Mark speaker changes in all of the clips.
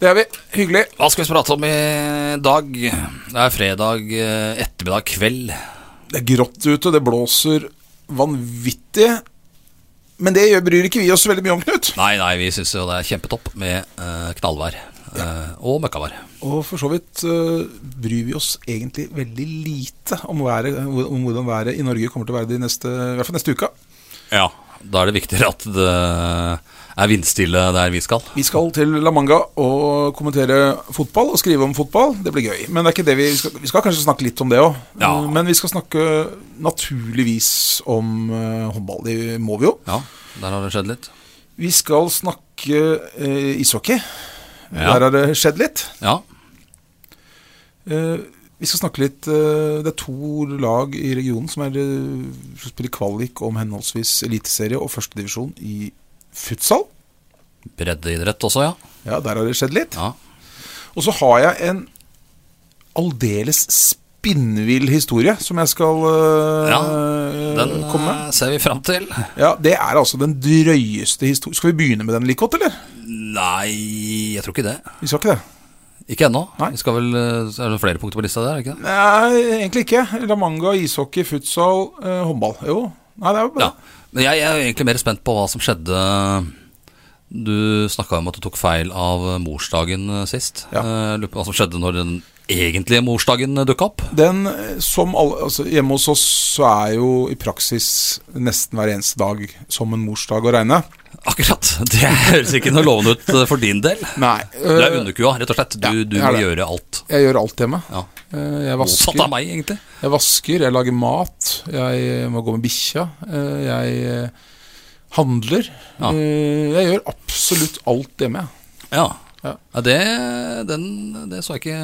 Speaker 1: Det er vi. Hyggelig.
Speaker 2: Hva skal vi prate om i dag? Det er fredag eh, ettermiddag kveld.
Speaker 1: Det er grått ute, det blåser vanvittig. Men det gjør- bryr ikke vi oss veldig mye om, Knut.
Speaker 2: Nei, nei, vi syns jo det er kjempetopp med eh, knallvær eh, og møkkavær.
Speaker 1: Og for så vidt eh, bryr vi oss egentlig veldig lite om, været, om hvordan været i Norge kommer til å være de neste, i hvert fall neste uka.
Speaker 2: Ja. Da er det viktigere at det er vindstille der vi skal.
Speaker 1: Vi skal til La Manga og kommentere fotball og skrive om fotball. Det blir gøy. Men det er ikke det vi, vi skal, vi skal kanskje snakke litt om det òg.
Speaker 2: Ja.
Speaker 1: Men vi skal snakke naturligvis om eh, håndball. Det må vi jo.
Speaker 2: Ja, der har det skjedd litt.
Speaker 1: Vi skal snakke eh, ishockey.
Speaker 2: Ja.
Speaker 1: Der har det skjedd litt.
Speaker 2: Ja.
Speaker 1: Eh, vi skal snakke litt eh, Det er to lag i regionen som er, eh, som spiller kvalik om henholdsvis eliteserie og førstedivisjon i futsal.
Speaker 2: Breddeidrett også, ja.
Speaker 1: Ja, der har det skjedd litt.
Speaker 2: ja.
Speaker 1: Og så har jeg en aldeles spinnvill historie som jeg skal eh,
Speaker 2: Ja, Den
Speaker 1: eh, komme med.
Speaker 2: eh, ser vi fram til.
Speaker 1: Ja, Det er altså den drøyeste historien Skal vi begynne med den like godt, eller?
Speaker 2: Nei, jeg tror ikke det.
Speaker 1: Vi skal ikke det?
Speaker 2: Ikke ennå.
Speaker 1: Nei.
Speaker 2: Vi skal vel, eh, Er det flere punkter på lista der? er det ikke det?
Speaker 1: Nei, egentlig ikke. La manga, ishockey, futsal, eh, håndball. Jo. Nei, det er jo
Speaker 2: Ja.
Speaker 1: bare
Speaker 2: Men jeg, jeg er egentlig mer spent på hva som skjedde. Du snakka om at du tok feil av morsdagen eh, sist.
Speaker 1: Ja.
Speaker 2: Eh, Lurer på hva som skjedde når den egentlige morsdagen dukka opp.
Speaker 1: Den eh, som alle altså, Hjemme hos oss så er jo i praksis nesten hver eneste dag som en morsdag å regne.
Speaker 2: Akkurat. Det høres ikke noe lovende ut eh, for din del.
Speaker 1: Nei.
Speaker 2: Du er
Speaker 1: eh,
Speaker 2: underkua, rett og slett. Du,
Speaker 1: ja,
Speaker 2: du
Speaker 1: jeg
Speaker 2: må
Speaker 1: er det.
Speaker 2: gjøre alt.
Speaker 1: jeg gjør alt hjemme.
Speaker 2: Ja.
Speaker 1: Eh, Jeg
Speaker 2: Motsatt
Speaker 1: vasker,
Speaker 2: av meg, egentlig.
Speaker 1: jeg vasker, jeg lager mat, jeg eh, må gå med bikkja, eh, jeg eh, handler.
Speaker 2: Ja.
Speaker 1: Eh, Jeg gjør absolutt alt hjemme. jeg.
Speaker 2: Ja.
Speaker 1: Ja.
Speaker 2: ja det, den, det så jeg ikke,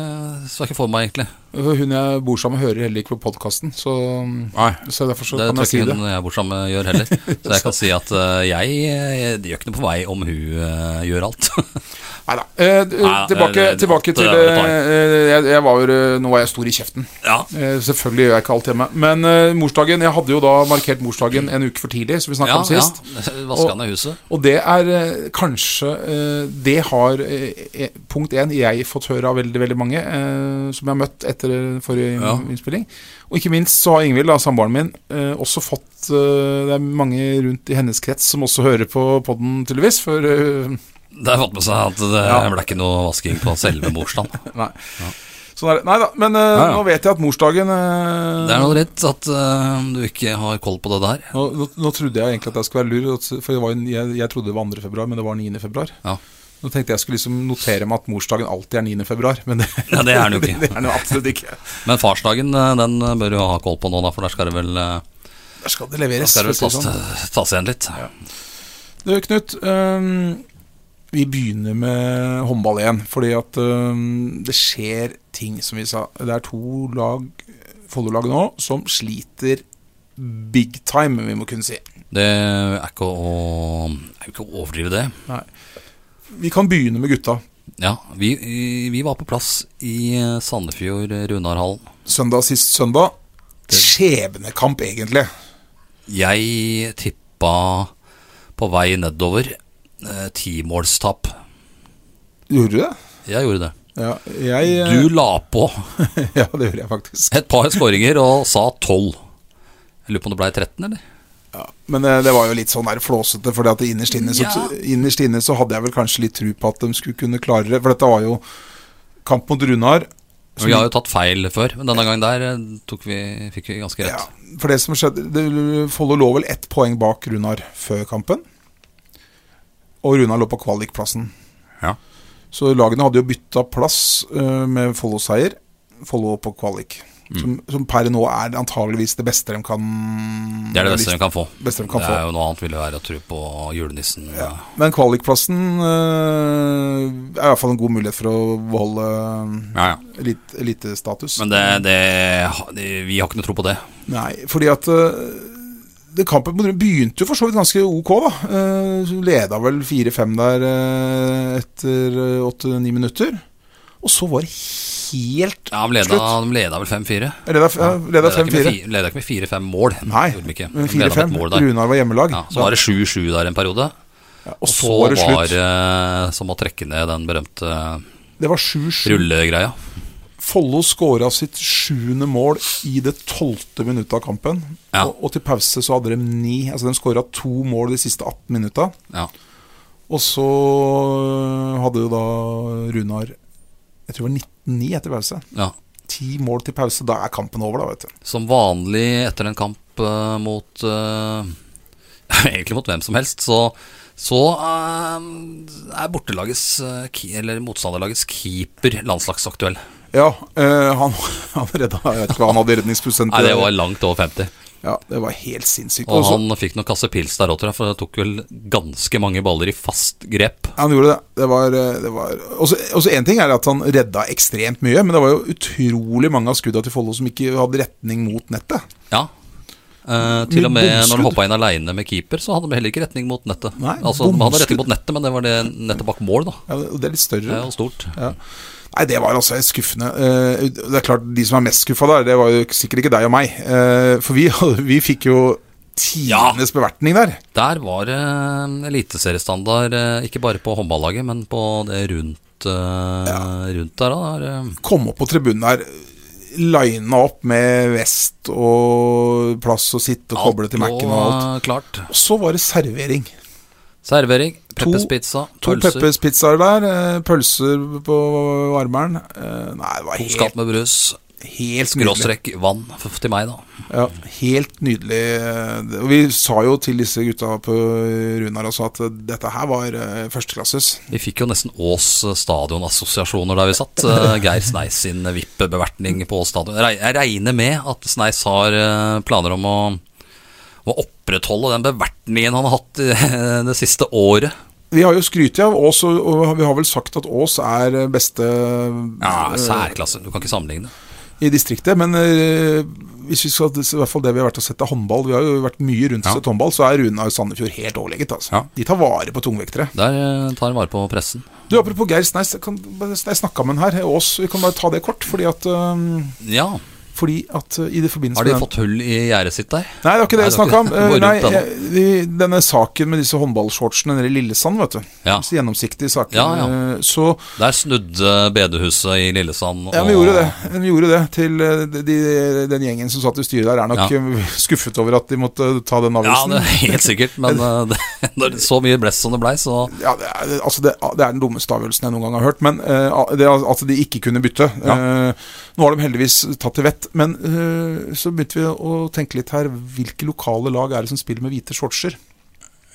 Speaker 2: så jeg ikke for meg, egentlig.
Speaker 1: For Hun jeg bor sammen med, hører heller ikke på podkasten, så,
Speaker 2: Nei.
Speaker 1: så derfor så
Speaker 2: Det
Speaker 1: kan
Speaker 2: tror
Speaker 1: jeg si
Speaker 2: jeg
Speaker 1: det.
Speaker 2: ikke hun jeg bor sammen med gjør heller. Så jeg kan si at eh, jeg, eh, det gjør ikke noe på meg om hun eh, gjør alt.
Speaker 1: Neida. Eh, d-
Speaker 2: Neida,
Speaker 1: tilbake,
Speaker 2: det- det-
Speaker 1: tilbake
Speaker 2: det-
Speaker 1: til
Speaker 2: det- det
Speaker 1: eh,
Speaker 2: tar
Speaker 1: eh, jeg, jeg var, eh, Nå var jeg stor i kjeften.
Speaker 2: ja.
Speaker 1: Eh, selvfølgelig gjør jeg ikke alt hjemme. Men eh, morsdagen Jeg hadde jo da markert morsdagen en uke for tidlig, som vi snakka
Speaker 2: Ja,
Speaker 1: om sist.
Speaker 2: ja. Vaska ned huset.
Speaker 1: Og det er eh, kanskje eh, Det har eh, eh, punkt én jeg fått høre av veldig veldig mange eh, som jeg har møtt etter forrige
Speaker 2: Ja.
Speaker 1: innspilling. Og ikke minst så har Ingvild, da, samboeren min, eh, også fått eh, Det er mange rundt i hennes krets som også hører på podden, tydeligvis. For eh,
Speaker 2: Det har fått med seg at eh, det
Speaker 1: Ja.
Speaker 2: ble ikke noe vasking på selve morsdagen.
Speaker 1: Nei. Sånn er det. Nei da, men eh,
Speaker 2: Ja, ja.
Speaker 1: nå vet jeg at morsdagen eh,
Speaker 2: Det er noe dritt at eh, du ikke har koll på det der.
Speaker 1: nå, nå, nå trodde jeg egentlig at jeg skulle være lur, at- for det var, jo- jeg, jeg trodde det var 2. februar, men det var 9. februar.
Speaker 2: Ja.
Speaker 1: Nå tenkte jeg skulle liksom notere meg at morsdagen alltid er 9. februar, men det,
Speaker 2: Ja, det er den jo ikke.
Speaker 1: det er den jo absolutt ikke.
Speaker 2: Men farsdagen eh, den bør du ha koll på nå, da, for der skal det vel, eh,
Speaker 1: Der skal det
Speaker 2: der
Speaker 1: leveres.
Speaker 2: skal det
Speaker 1: for å
Speaker 2: tas,
Speaker 1: si det sånn.
Speaker 2: tas igjen litt.
Speaker 1: Du, Knut, øhm, vi begynner med håndball igjen, fordi at øhm, det skjer ting, som vi sa. Det er to lag, Follo-lag nå, som sliter big time, vi må kunne si.
Speaker 2: Det er ikke å, er jo ikke å overdrive det.
Speaker 1: Vi kan begynne med gutta.
Speaker 2: Ja, vi, vi var på plass i eh, Sandefjord, eh, Runarhallen.
Speaker 1: Søndag sist søndag. Skjebnekamp, egentlig.
Speaker 2: Jeg tippa på vei nedover eh, timålstap.
Speaker 1: Gjorde du det?
Speaker 2: Jeg gjorde det.
Speaker 1: Ja, jeg eh,
Speaker 2: Du la på
Speaker 1: Ja, det gjorde jeg faktisk.
Speaker 2: et par skåringer og sa tolv. Jeg lurer på om det blei 13, eller?
Speaker 1: Ja, men eh, det var jo litt sånn der flåsete, for innerst, inne så-
Speaker 2: Ja.
Speaker 1: innerst inne så hadde jeg vel kanskje litt tru på at de skulle kunne klare det. For dette var jo kamp mot Runar.
Speaker 2: Vi har jo tatt feil før, men denne gangen der eh, tok vi, fikk vi ganske
Speaker 1: ja,
Speaker 2: rett.
Speaker 1: for det som skjedde det- Follo lå vel ett poeng bak Runar før kampen. Og Runar lå på kvalikplassen.
Speaker 2: Ja.
Speaker 1: Så lagene hadde jo bytta plass eh, med Follo-seier. Follo på kvalik.
Speaker 2: Mm.
Speaker 1: Som, som per nå er antageligvis det beste de kan
Speaker 2: Det er det beste de kan få.
Speaker 1: beste de kan
Speaker 2: det
Speaker 1: få.
Speaker 2: er jo Noe annet ville være å tro på julenissen.
Speaker 1: Men kvalikplassen eh, er i hvert fall en god mulighet for å beholde eh,
Speaker 2: Ja, ja.
Speaker 1: elit- elitestatus.
Speaker 2: Men det, det, vi har ikke noe tro på det.
Speaker 1: Nei, fordi at eh, det Kampen mot Rød begynte jo for så vidt ganske ok, da. Eh, leda vel 4-5 der eh, etter eh, 8-9 minutter. Og så var det helt
Speaker 2: Ja, De leda, de leda vel 5-4.
Speaker 1: Jeg Leda, ja, leda
Speaker 2: Leda ikke med
Speaker 1: 5-4.
Speaker 2: fi- leda ikke med 4-5 mål.
Speaker 1: Nei,
Speaker 2: Gjorde de ikke.
Speaker 1: men
Speaker 2: De leda med et
Speaker 1: 4-5.
Speaker 2: mål der.
Speaker 1: Runar var hjemmelag.
Speaker 2: Ja, så var det 7-7 der en periode.
Speaker 1: Ja,
Speaker 2: Og så
Speaker 1: var det
Speaker 2: var
Speaker 1: slutt.
Speaker 2: det eh, som å trekke ned den berømte
Speaker 1: Det var 7-7.
Speaker 2: rullegreia.
Speaker 1: Follo skåra sitt sjuende mål i det tolvte minuttet av kampen.
Speaker 2: Ja.
Speaker 1: Og, og til pause så hadde de ni. Altså de skåra to mål de siste 18 minutta.
Speaker 2: Ja.
Speaker 1: Og så øh, hadde jo da Runar Jeg tror det var 19-9 etter pause.
Speaker 2: ja.
Speaker 1: Ti mål til pause. Da er kampen over, da, vet du.
Speaker 2: Som vanlig etter en kamp eh, mot eh, Egentlig mot hvem som helst, så, så eh, er bortelagets eh, ki- Eller motstanderlagets keeper landslagsaktuell.
Speaker 1: Ja, eh, han, han redda Jeg vet ikke hva han hadde i redningsprosent.
Speaker 2: Nei, det var langt over 50.
Speaker 1: Ja, det var helt sinnssykt.
Speaker 2: Og
Speaker 1: Og så-
Speaker 2: han fikk noen kasse pils der òg, tror jeg, for det tok vel ganske mange baller i fast grep.
Speaker 1: Han gjorde det. Det var, eh, det var også, også en ting er at han redda ekstremt mye, men det var jo utrolig mange av skudda til Follo som ikke hadde retning mot nettet.
Speaker 2: Ja. Eh, til og med
Speaker 1: bomskudd.
Speaker 2: når de hoppa inn aleine med keeper, så hadde de heller ikke retning mot nettet.
Speaker 1: Nei,
Speaker 2: altså, de hadde
Speaker 1: bomskudd.
Speaker 2: retning mot nettet, men det var det nettet bak mål, da.
Speaker 1: Ja, og det er litt
Speaker 2: Det
Speaker 1: større.
Speaker 2: er jo stort.
Speaker 1: Nei, det var altså helt skuffende. Eh, Det er klart, de som er mest skuffa der, det var jo sikkert ikke deg og meg. Eh, For vi, hadde- vi fikk jo tidenes bevertning der.
Speaker 2: Der var det eliteseriestandard, eh, ikke bare på håndballaget, men på det rundt, eh, rundt der. Da, der eh,
Speaker 1: Kom opp på tribunen der, lina opp med vest og plass å sitte og koble til Mac-en og alt.
Speaker 2: eh, klart.
Speaker 1: Og så var det servering.
Speaker 2: Servering,
Speaker 1: To-
Speaker 2: Peppers pizza,
Speaker 1: To
Speaker 2: pølser,
Speaker 1: pepperspizzaer der, eh, pølser på varmeren. Eh, Nei, det var
Speaker 2: to
Speaker 1: helt,
Speaker 2: skap med brus,
Speaker 1: helt nydelig.
Speaker 2: skråstrekk vann f- til meg, da.
Speaker 1: Ja, helt nydelig. eh, det- Og vi sa jo til disse gutta på Runar også at eh, dette her var eh, førsteklasses.
Speaker 2: Vi fikk jo nesten Ås eh, stadionassosiasjoner der vi satt. Eh, Geir Sneis sin VIP-bevertning på Ås stadion. Re- Jeg regner med at Sneis har eh, planer om å, å opprettholde den bevertningen han har hatt eh, det siste året.
Speaker 1: Vi har jo skrytt av Ås, og- og vi har vel sagt at Ås er eh, beste eh,
Speaker 2: Ja, Særklasse. Du kan ikke sammenligne.
Speaker 1: i distriktet. Men eh, hvis vi skal, i hvert fall det vi har vært og sett av håndball, vi har jo vært mye rundt
Speaker 2: Ja.
Speaker 1: og sett håndball, så er Runar Sandefjord helt overlegget. Altså.
Speaker 2: Ja.
Speaker 1: De tar vare på tungvektere.
Speaker 2: Der eh, tar han vare på pressen.
Speaker 1: Du, Apropos Geir Sneis, jeg, kan, jeg snakka med han her, Ås. Vi kan bare ta det kort. Fordi at, øhm,
Speaker 2: Ja,
Speaker 1: fordi at øh, i det forbindelse
Speaker 2: har de
Speaker 1: med den-
Speaker 2: fått hull i gjerdet sitt der?
Speaker 1: Nei, det var ikke det
Speaker 2: Nei,
Speaker 1: jeg
Speaker 2: det var
Speaker 1: snakka om.
Speaker 2: ikke det.
Speaker 1: Eh,
Speaker 2: Gå
Speaker 1: Nei,
Speaker 2: rundt den.
Speaker 1: jeg- vi- Denne saken med disse håndballshortsene nede i Lillesand, vet du.
Speaker 2: Ja.
Speaker 1: Disse gjennomsiktige sakene.
Speaker 2: Ja, ja.
Speaker 1: eh, Så
Speaker 2: Der snudde bedehuset i Lillesand.
Speaker 1: ja,
Speaker 2: og-
Speaker 1: vi gjorde det. Vi gjorde det til eh, de, de, den gjengen som satt i styret der, er nok
Speaker 2: Ja.
Speaker 1: eh, skuffet over at de måtte øh, ta den
Speaker 2: Ja,
Speaker 1: avgjørelsen.
Speaker 2: det er helt sikkert. Men eh, det, når det- så mye blest som det blei, så
Speaker 1: Ja, det er, altså det, det er den dummeste avgjørelsen jeg noen gang har hørt. Men eh, det er at de ikke kunne bytte. Eh, nå har de heldigvis tatt til vett. Men eh, så begynte vi å tenke litt her. Hvilke lokale lag er det som spiller med hvite shortser?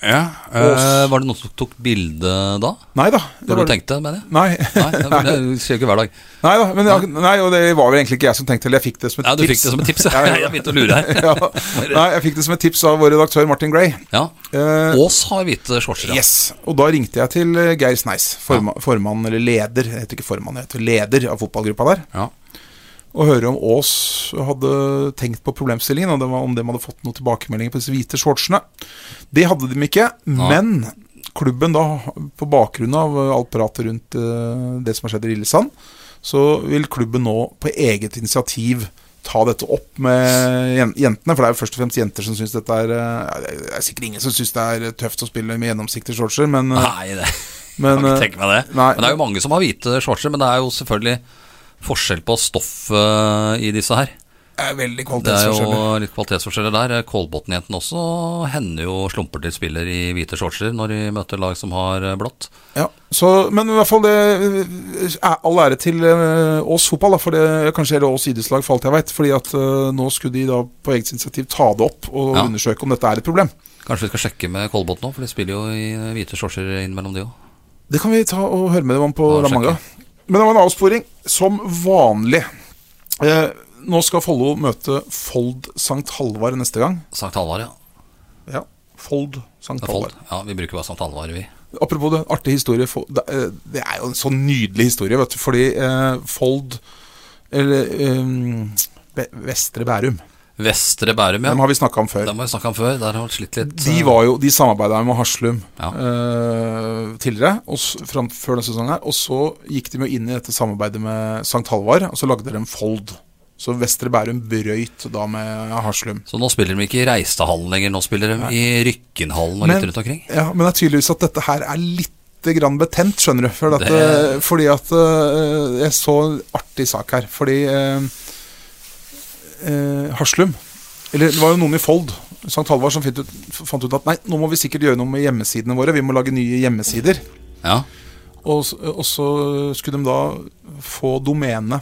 Speaker 2: Eh, Var det noen som tok bilde da?
Speaker 1: Nei da.
Speaker 2: Når
Speaker 1: var-
Speaker 2: du tenkte, mener jeg?
Speaker 1: Nei,
Speaker 2: Nei, det var- det skjer jo ikke hver dag.
Speaker 1: nei da. Men jeg, nei, og det var vel egentlig ikke jeg som tenkte det. Jeg fikk det som et
Speaker 2: Ja, du
Speaker 1: tips.
Speaker 2: fikk det som et tips.
Speaker 1: Ja, ja.
Speaker 2: Jeg begynte å lure her.
Speaker 1: ja. Nei, jeg fikk det som et tips av vår redaktør Martin Gray.
Speaker 2: Ja.
Speaker 1: Eh,
Speaker 2: Ås har hvite shortser. ja.
Speaker 1: Yes, Og da ringte jeg til eh, Geir Sneis, forma, formann eller leder, jeg heter ikke formann, jeg heter leder av fotballgruppa der.
Speaker 2: Ja.
Speaker 1: og høre om Aas hadde tenkt på problemstillingen, og det var om de hadde fått noen tilbakemeldinger på disse hvite shortsene. Det hadde de ikke, men klubben da, på bakgrunn av alt pratet rundt eh, det som har skjedd i Lillesand, så vil klubben nå på eget initiativ ta dette opp med jen- jentene, for det er jo først og fremst jenter som syns dette er eh, Det er- det er sikkert ingen som syns det er tøft å spille med gjennomsiktige shortser, men, eh,
Speaker 2: Nei, det jeg
Speaker 1: men
Speaker 2: kan ikke
Speaker 1: eh,
Speaker 2: tenke meg det.
Speaker 1: nei.
Speaker 2: Men det er jo mange som har hvite shortser, men det er jo selvfølgelig forskjell på stoffet eh, i disse her.
Speaker 1: det er
Speaker 2: Det
Speaker 1: veldig
Speaker 2: er
Speaker 1: kvalitetsforskjeller.
Speaker 2: jo litt kvalitetsforskjeller der. Kolbotn-jentene også hender jo slumper til spiller i hvite shortser når de møter lag som har eh, blått.
Speaker 1: Ja, så, men i hvert fall det eh, er all ære til eh, Ås fotball, da, for det kanskje hele Ås idrettslag, for alt jeg veit. Fordi at eh, nå skulle de da på eget initiativ ta det opp og
Speaker 2: Ja.
Speaker 1: undersøke om dette er et problem.
Speaker 2: Kanskje vi skal sjekke med Kolbotn nå, for de spiller jo i eh, hvite shortser innimellom, de òg.
Speaker 1: Det kan vi ta og høre med dem om på
Speaker 2: Ja,
Speaker 1: La Manga. Men det var en avsporing, som vanlig. Eh, Nå skal Follo møte Fold Sankt Halvard neste gang.
Speaker 2: Sankt Halvard, ja.
Speaker 1: Ja, Fold Sankt
Speaker 2: Det er Fold.
Speaker 1: Halvard.
Speaker 2: Ja, Vi bruker bare Sankt Halvard, vi.
Speaker 1: Apropos det, artig historie. Fo- Det er det er jo en sånn nydelig historie, vet du. Fordi eh, Fold Eller eh, Be- Vestre Bærum.
Speaker 2: Vestre Bærum, ja.
Speaker 1: Dem har vi snakka om før.
Speaker 2: Dem har vi snakka om før. Der har vi slitt litt.
Speaker 1: De,
Speaker 2: eh,
Speaker 1: var jo, de samarbeida med Haslum
Speaker 2: Ja.
Speaker 1: eh, tidligere, og s- fram, før denne sesongen her. Og så gikk de jo inn i dette samarbeidet med Sankt Halvard, og så lagde de Fold. Så Vestre Bærum brøyt da med Haslum.
Speaker 2: Så nå spiller de ikke i Reistadhallen lenger, nå spiller de i Rykkenhallen og litt
Speaker 1: Men-
Speaker 2: rundt omkring.
Speaker 1: Ja, Men det er tydeligvis at dette her er lite grann betent, skjønner du. For at,
Speaker 2: Det-
Speaker 1: eh, Fordi at eh, Jeg så en artig sak her. Fordi eh, eh, Haslum Eller det var jo noen i Fold, Sankt Halvard, som fant ut, fant ut at nei, nå må vi sikkert gjøre noe med hjemmesidene våre. Vi må lage nye hjemmesider.
Speaker 2: Ja,
Speaker 1: Og, s- og så skulle de da få domenet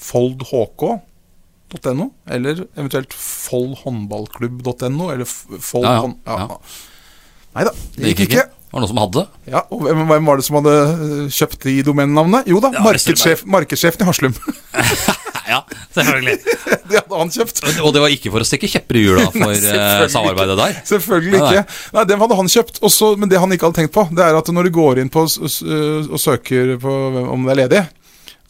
Speaker 1: foldhk.no, eller eventuelt foldhåndballklubb.no, eller f- fold...
Speaker 2: Ja, ja,
Speaker 1: hånd-
Speaker 2: ja.
Speaker 1: Nei da, det gikk ikke.
Speaker 2: Det var noen som hadde.
Speaker 1: Ja, og hvem, hvem var det som hadde øh, kjøpt de domenenavnene? Jo da,
Speaker 2: Ja,
Speaker 1: markedssjef, markedssjefen i Haslum.
Speaker 2: Ja, selvfølgelig.
Speaker 1: det hadde han kjøpt.
Speaker 2: Og det var ikke for å stikke kjepper i hjula for eh,
Speaker 1: selvfølgelig
Speaker 2: samarbeidet der.
Speaker 1: Selvfølgelig
Speaker 2: Nei, nei.
Speaker 1: ikke. Nei, Den hadde han kjøpt. Og så- men det han ikke hadde tenkt på, Det er at når du går inn på, s- s- eh, og søker på hvem- om det er ledig,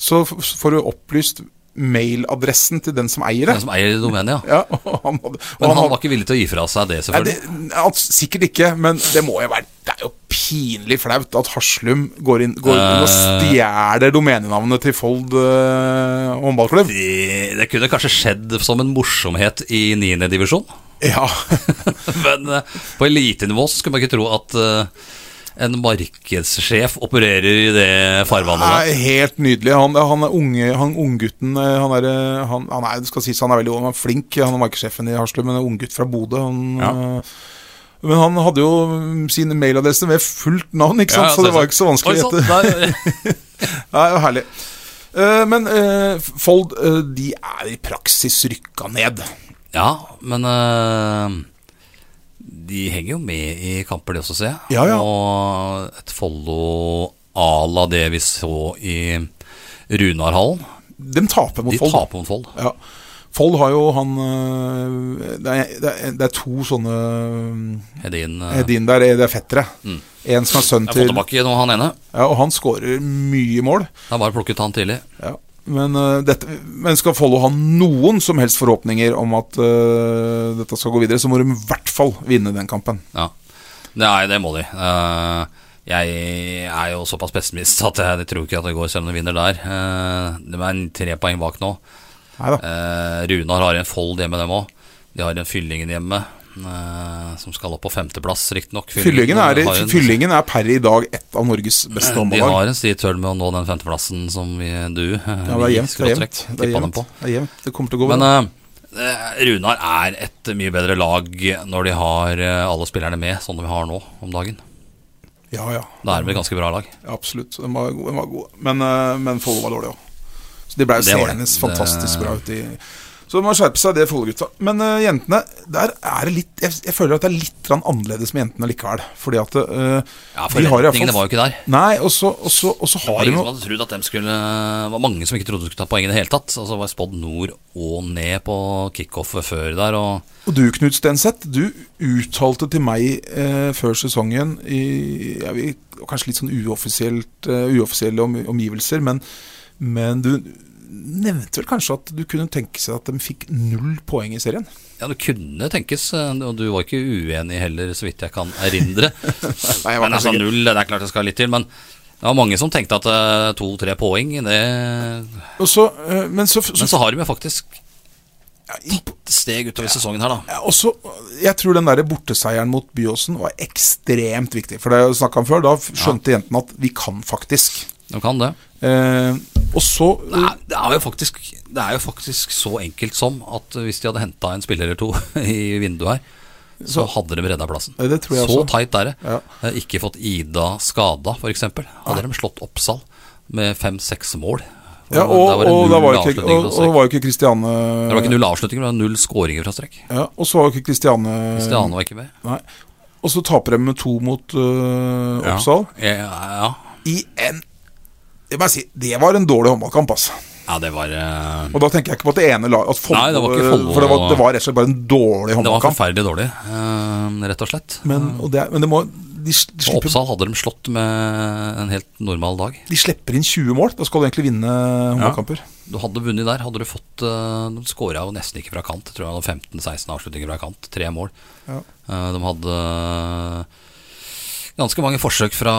Speaker 1: så f- får du opplyst mailadressen til den som eier
Speaker 2: Den
Speaker 1: det.
Speaker 2: som eier domenet, ja.
Speaker 1: Ja, og han hadde,
Speaker 2: Men
Speaker 1: og han
Speaker 2: han
Speaker 1: hadde
Speaker 2: var ikke villig til å gi fra seg det,
Speaker 1: Nei,
Speaker 2: selvfølgelig.
Speaker 1: det, altså, sikkert ikke, men det må jo være Det er jo pinlig flaut at Haslum går inn, går inn og
Speaker 2: Eh.
Speaker 1: stjeler domenenavnet til Fold eh, håndballklubb.
Speaker 2: Det, det kunne kanskje skjedd som en morsomhet i 9. divisjon.
Speaker 1: Ja.
Speaker 2: Men eh, på elitenivå så skulle man ikke tro at eh, en markedssjef opererer i det farvannet der.
Speaker 1: Nei, helt nydelig. Han, han er unge, han unggutten eh, han, er, eh, han, han er, det skal sies, han er veldig han er flink, han er markedssjefen i Haslum, men en unggutt fra Bodø. Han,
Speaker 2: Ja.
Speaker 1: eh, Men han hadde jo sin mailadresse med fullt navn, ikke
Speaker 2: Ja,
Speaker 1: sant?
Speaker 2: ja,
Speaker 1: så det var ikke så
Speaker 2: Oi,
Speaker 1: vanskelig å
Speaker 2: sånn,
Speaker 1: gjette.
Speaker 2: der-
Speaker 1: Det er jo herlig. Eh, men eh, Fold eh, de er i praksis rykka ned.
Speaker 2: Ja, men eh, de henger jo med i kamper, de også, ser jeg.
Speaker 1: Ja, ja.
Speaker 2: Og et Follo à la det vi så i Runarhallen.
Speaker 1: De taper mot
Speaker 2: De
Speaker 1: Fold.
Speaker 2: taper mot Fold.
Speaker 1: Ja. Fold har jo han eh, det er, det, er, det er to sånne
Speaker 2: Hedin eh,
Speaker 1: Hedin der, det er fettere. En som er sønn
Speaker 2: Mm. Jeg har
Speaker 1: til
Speaker 2: fått tilbake nå, han ene.
Speaker 1: ja, Og han skårer mye mål.
Speaker 2: Det er bare å plukke ut han tidlig.
Speaker 1: Ja. Men, eh, dette, men skal Follo ha noen som helst forhåpninger om at eh, dette skal gå videre, så må de i hvert fall vinne den kampen.
Speaker 2: Ja. Nei, det må de. Eh, jeg er jo såpass pessimist at jeg tror ikke at det går selv om de vinner der. Eh, de er en tre poeng bak nå.
Speaker 1: Nei da.
Speaker 2: Eh, Runar har en fold hjemme, dem òg. De har en Fyllingen hjemme, eh, som skal opp på femteplass, riktignok.
Speaker 1: Fyllingen er,
Speaker 2: har en- Eh,
Speaker 1: fyllingen er per i dag et av Norges beste
Speaker 2: De
Speaker 1: håndballag.
Speaker 2: har en stri tøll med å nå den femteplassen som vi, du
Speaker 1: Ja, det er jevnt. Det, er jevnt. Det, er jevnt.
Speaker 2: På.
Speaker 1: det er jevnt. Det kommer til å gå
Speaker 2: Men
Speaker 1: bra.
Speaker 2: eh, Runar er et mye bedre lag når de har eh, alle spillerne med, sånn de har nå om dagen.
Speaker 1: Ja, ja.
Speaker 2: Da er de et ganske bra lag.
Speaker 1: Absolutt. Den var god. Den var god. Men, eh, men Follo var dårlig òg. Så de ble jo
Speaker 2: Det var det.
Speaker 1: senest
Speaker 2: Det-
Speaker 1: fantastisk bra ute i Så de må skjerpe seg, det Follo-gutta. Men eh, jentene, der er det litt jeg, jeg føler at det er litt grann annerledes med jentene likevel. Fordi at eh,
Speaker 2: Ja,
Speaker 1: de har i hvert
Speaker 2: Forventningene
Speaker 1: fall-
Speaker 2: var jo ikke der.
Speaker 1: Nei, og så og så- og så
Speaker 2: Det var
Speaker 1: har de
Speaker 2: ingen som
Speaker 1: noe
Speaker 2: hadde trodd at dem skulle eh, Det var mange som ikke trodde de skulle ta poeng i det hele tatt. Altså det var spådd nord og ned på kickoffet før der, og
Speaker 1: Og du, Knut Stenseth, du uttalte til meg eh, før sesongen i ja, vi, Kanskje litt sånn uoffisielt, eh, uoffisielle om, omgivelser, men, men du nevnte vel kanskje at du kunne tenke seg at de fikk null poeng i serien?
Speaker 2: ja, det kunne tenkes, og du var ikke uenig heller, så vidt jeg kan erindre.
Speaker 1: Nei, jeg var
Speaker 2: men altså
Speaker 1: kanskje ikke-
Speaker 2: null, det er klart det skal litt til, men det var mange som tenkte at eh, to-tre poeng, det
Speaker 1: Og så, eh, men så, så,
Speaker 2: Men så har de jo faktisk
Speaker 1: ja, imp-
Speaker 2: et steg utover sesongen her, da.
Speaker 1: ja, og så- Jeg tror den der borteseieren mot Byåsen var ekstremt viktig. For det snakka om før, da skjønte jentene at vi kan faktisk.
Speaker 2: De kan det.
Speaker 1: Eh, og så
Speaker 2: Det er, det, er jo faktisk, det er jo faktisk så enkelt som at hvis de hadde henta en spiller eller to i vinduet her, så hadde de redda plassen.
Speaker 1: Ja, det tror jeg
Speaker 2: så
Speaker 1: også.
Speaker 2: tight er det.
Speaker 1: Ja.
Speaker 2: Eh, Ikke fått Ida skada, f.eks. Hadde de slått Oppsal med fem-seks mål.
Speaker 1: Ja,
Speaker 2: Der
Speaker 1: og, og,
Speaker 2: det
Speaker 1: da
Speaker 2: null
Speaker 1: var jo ikke,
Speaker 2: avslutninger
Speaker 1: og,
Speaker 2: fra
Speaker 1: og det
Speaker 2: strekk.
Speaker 1: var jo ikke Kristiane
Speaker 2: Det var ikke null avslutninger, det var null skåringer fra strekk.
Speaker 1: Ja, og så var jo ikke Kristiane
Speaker 2: Stiane var ikke med.
Speaker 1: Nei. Og så taper de med to mot øh, Oppsal.
Speaker 2: Ja, ja, ja.
Speaker 1: I en Det må jeg si, det var en dårlig håndballkamp, altså.
Speaker 2: Ja, det var eh,
Speaker 1: Og da tenker jeg ikke på at det ene laget at Follo-
Speaker 2: Nei, det var ikke Follo-
Speaker 1: For det var, det var rett og slett bare en
Speaker 2: Det
Speaker 1: dårlig
Speaker 2: var
Speaker 1: håndballkamp.
Speaker 2: forferdelig dårlig, eh, rett og slett.
Speaker 1: Men, og det, er- men det må, de, s- de,
Speaker 2: Og
Speaker 1: slipper,
Speaker 2: Oppsal hadde de slått med en helt normal dag.
Speaker 1: de slipper inn 20 mål. Da skal du egentlig vinne håndballkamper.
Speaker 2: Du hadde vunnet der, hadde du fått eh, De skåra jo nesten ikke fra kant. Jeg tror jeg hadde 15-16 avslutninger fra kant. Tre mål.
Speaker 1: Ja.
Speaker 2: Eh, de hadde eh, ganske mange forsøk fra,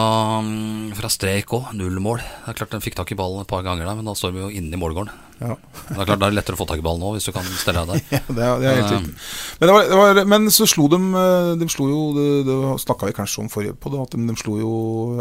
Speaker 2: mm, fra strek òg. Null mål. Det er klart De fikk tak i ballen et par ganger, da, men da står vi jo inne i målgården.
Speaker 1: Ja.
Speaker 2: Det er klart det er lettere å få tak i ballen nå, hvis du kan stelle deg der.
Speaker 1: Det er, det er helt
Speaker 2: Ja.
Speaker 1: riktig. Men, det var, det var, men så slo de eh, De slo jo Det, det snakka vi kanskje om forrige på det, at de, de slo jo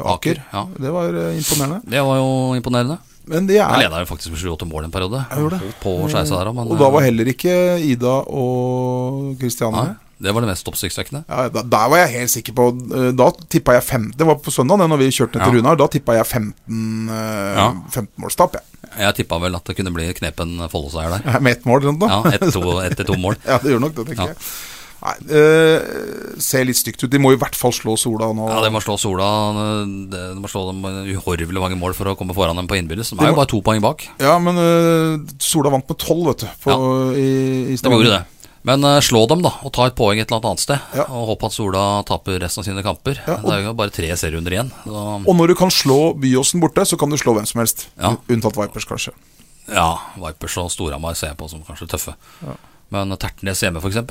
Speaker 1: Aker.
Speaker 2: Aker, ja.
Speaker 1: Det var eh, imponerende.
Speaker 2: Det var jo imponerende.
Speaker 1: Men det
Speaker 2: Jeg
Speaker 1: er
Speaker 2: leda jo faktisk med 7-8 mål en periode.
Speaker 1: gjorde det. Mm.
Speaker 2: Holdt på å skeise der òg, men
Speaker 1: Og da var
Speaker 2: eh,
Speaker 1: heller ikke Ida og Kristiane
Speaker 2: nei,
Speaker 1: med.
Speaker 2: det var det mest oppsiktsvekkende.
Speaker 1: Ja, da, der var jeg helt sikker på eh, Da tippa jeg 15 Det var på søndag det, når vi kjørte ned til
Speaker 2: Ja.
Speaker 1: Runar. Da tippa jeg 15 eh,
Speaker 2: Ja.
Speaker 1: 15 målstap, jeg.
Speaker 2: Jeg tippa vel at det kunne bli knepen Follo-seier der.
Speaker 1: Med ett mål eller noe.
Speaker 2: Ja, ett to- ett til to mål.
Speaker 1: Ja, det gjør nok det, tenker
Speaker 2: Ja.
Speaker 1: jeg. Nei, eh, ser litt stygt ut. De må i hvert fall slå Sola nå.
Speaker 2: Ja, De må slå Sola det- De må slå dem uhorvelig mange mål for å komme foran dem på innbyrdes. De
Speaker 1: De
Speaker 2: er
Speaker 1: må-
Speaker 2: jo bare to poeng bak.
Speaker 1: Ja, men eh, Sola vant med tolv, vet du. På, i, i
Speaker 2: De
Speaker 1: Stavanger.
Speaker 2: gjorde det. Men eh, slå dem, da, og ta et poeng et eller annet annet sted.
Speaker 1: Ja.
Speaker 2: Og håpe at Sola taper resten av sine kamper.
Speaker 1: Ja, og-
Speaker 2: Det er jo bare tre serierunder igjen. Så,
Speaker 1: Og når du kan slå Byåsen borte, så kan du slå hvem som helst.
Speaker 2: Ja.
Speaker 1: Unntatt Vipers, kanskje.
Speaker 2: ja, Vipers og Storhamar ser jeg på som kanskje tøffe. Men eh, Tertnes hjemme, f.eks.,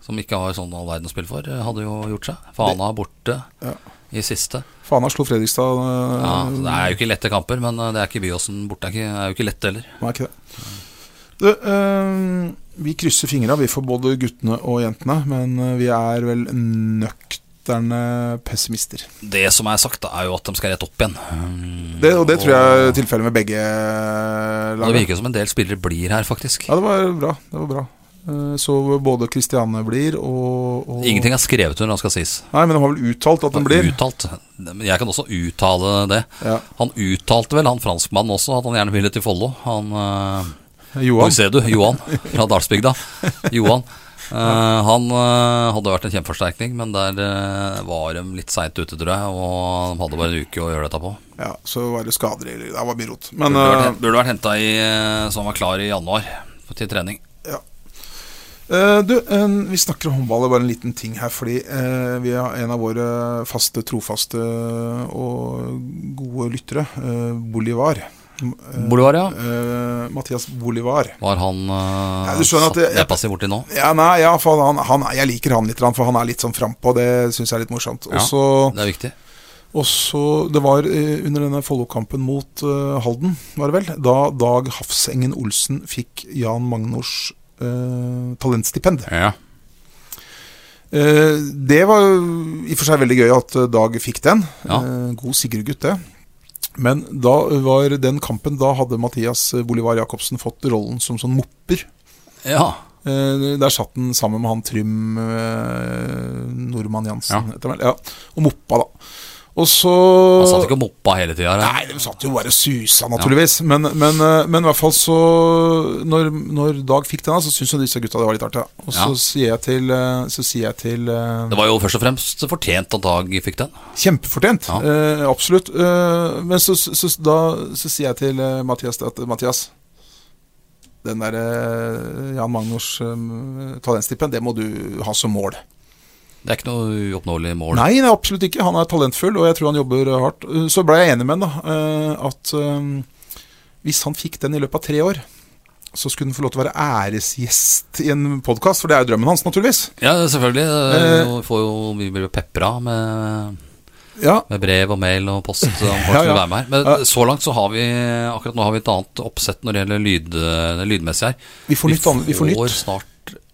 Speaker 2: som ikke har sånn all verden å spille for, hadde jo gjort seg. Fana borte
Speaker 1: Ja.
Speaker 2: i siste.
Speaker 1: Fana slo Fredrikstad. eh,
Speaker 2: Ja, så Det er jo ikke lette kamper, men eh, det er ikke Byåsen borte. Det er, ikke, det er jo ikke lett heller.
Speaker 1: Nei, ikke det. Du, eh, vi krysser fingra, vi, for både guttene og jentene. Men eh, vi er vel nøkterne pessimister.
Speaker 2: Det som er sagt, da, er jo at de skal rett opp igjen. Mm,
Speaker 1: Det, og det tror jeg er
Speaker 2: og-
Speaker 1: tilfellet med begge eh,
Speaker 2: og Det
Speaker 1: lagene.
Speaker 2: virker som en del spillere blir her, faktisk.
Speaker 1: Ja, det var bra. Det var bra. Eh, Så både Kristiane blir og, og
Speaker 2: Ingenting er skrevet under, det skal sies.
Speaker 1: Nei, men de har vel uttalt at den blir.
Speaker 2: Uttalt. Men Jeg kan også uttale det.
Speaker 1: Ja.
Speaker 2: Han uttalte vel, han franskmannen også, at han gjerne ville til Follo. Han eh, Hvor
Speaker 1: Johan.
Speaker 2: ser du? Johan fra Dalsbygda. Johan. Eh, han eh, hadde vært en kjempeforsterkning, men der eh, var de litt seint ute, tror jeg. Og de hadde bare en uke å gjøre dette på.
Speaker 1: Ja, så var det skader eller Det var mye rot. Men
Speaker 2: Burde vært,
Speaker 1: eh,
Speaker 2: hen- burde vært henta i eh, Så han var klar i januar til trening.
Speaker 1: eh, du, eh, vi snakker om håndball. Det er bare en liten ting her. Fordi eh, vi har en av våre faste, trofaste og gode lyttere, eh, Bolivar. Eh,
Speaker 2: Bolivar, ja.
Speaker 1: eh, Mathias Bolivar.
Speaker 2: Var han uh,
Speaker 1: Ja, du skjønner at det-
Speaker 2: neppa si borti nå?
Speaker 1: Ja, nei, ja, for han, han, jeg liker han litt, for han er litt sånn frampå. Det syns jeg er litt morsomt.
Speaker 2: Ja.
Speaker 1: Og så
Speaker 2: Det er viktig.
Speaker 1: Og så, Det var eh, under denne Follo-kampen mot eh, Halden, var det vel, da Dag Hafsengen Olsen fikk Jan Magnors eh, talentstipend.
Speaker 2: Ja.
Speaker 1: Eh, det var jo i og for seg veldig gøy at eh, Dag fikk den.
Speaker 2: Ja.
Speaker 1: Eh, god Sigurd-gutt, det. Men da var den kampen Da hadde Mathias Bolivar Jacobsen fått rollen som sånn mopper.
Speaker 2: ja.
Speaker 1: Eh, der satt han sammen med han Trym eh, Nordmann Jansen,
Speaker 2: Ja.
Speaker 1: heter han vel. Ja. Og moppa, da. Og så
Speaker 2: Han satt ikke og moppa hele tida.
Speaker 1: Nei, de satt jo bare og susa, naturligvis. Men, men, eh, men i hvert fall så Når, når Dag fikk denne, så syntes jo disse gutta det var litt artig. da. Og så
Speaker 2: Ja.
Speaker 1: sier jeg til, eh, så sier jeg til eh,
Speaker 2: Det var jo først og fremst fortjent at Dag fikk den.
Speaker 1: Kjempefortjent,
Speaker 2: Ja.
Speaker 1: eh, absolutt. Eh, men så, så, så, da, så sier jeg til eh, Mathias det at Mathias, den der eh, Jan Magnors eh, talentstipend, det må du ha som mål.
Speaker 2: Det er ikke noe uoppnåelig mål.
Speaker 1: Nei, nei, absolutt ikke. Han er talentfull, og jeg tror han jobber eh, hardt. Eh, Så ble jeg enig med han da, eh, at eh, hvis han fikk den i løpet av tre år, så skulle han få lov til å være æresgjest i en podkast, for det er jo drømmen hans, naturligvis.
Speaker 2: Ja, selvfølgelig.
Speaker 1: Eh.
Speaker 2: Vi får jo, vi blir jo pepra med,
Speaker 1: Ja,
Speaker 2: med brev og mail og post om folk som
Speaker 1: Ja,
Speaker 2: vil
Speaker 1: ja.
Speaker 2: være med her. Men så langt så har vi akkurat nå har vi et annet oppsett når det gjelder lyd, det lydmessig her.
Speaker 1: vi får nytt. an- Vi får nytt.
Speaker 2: snart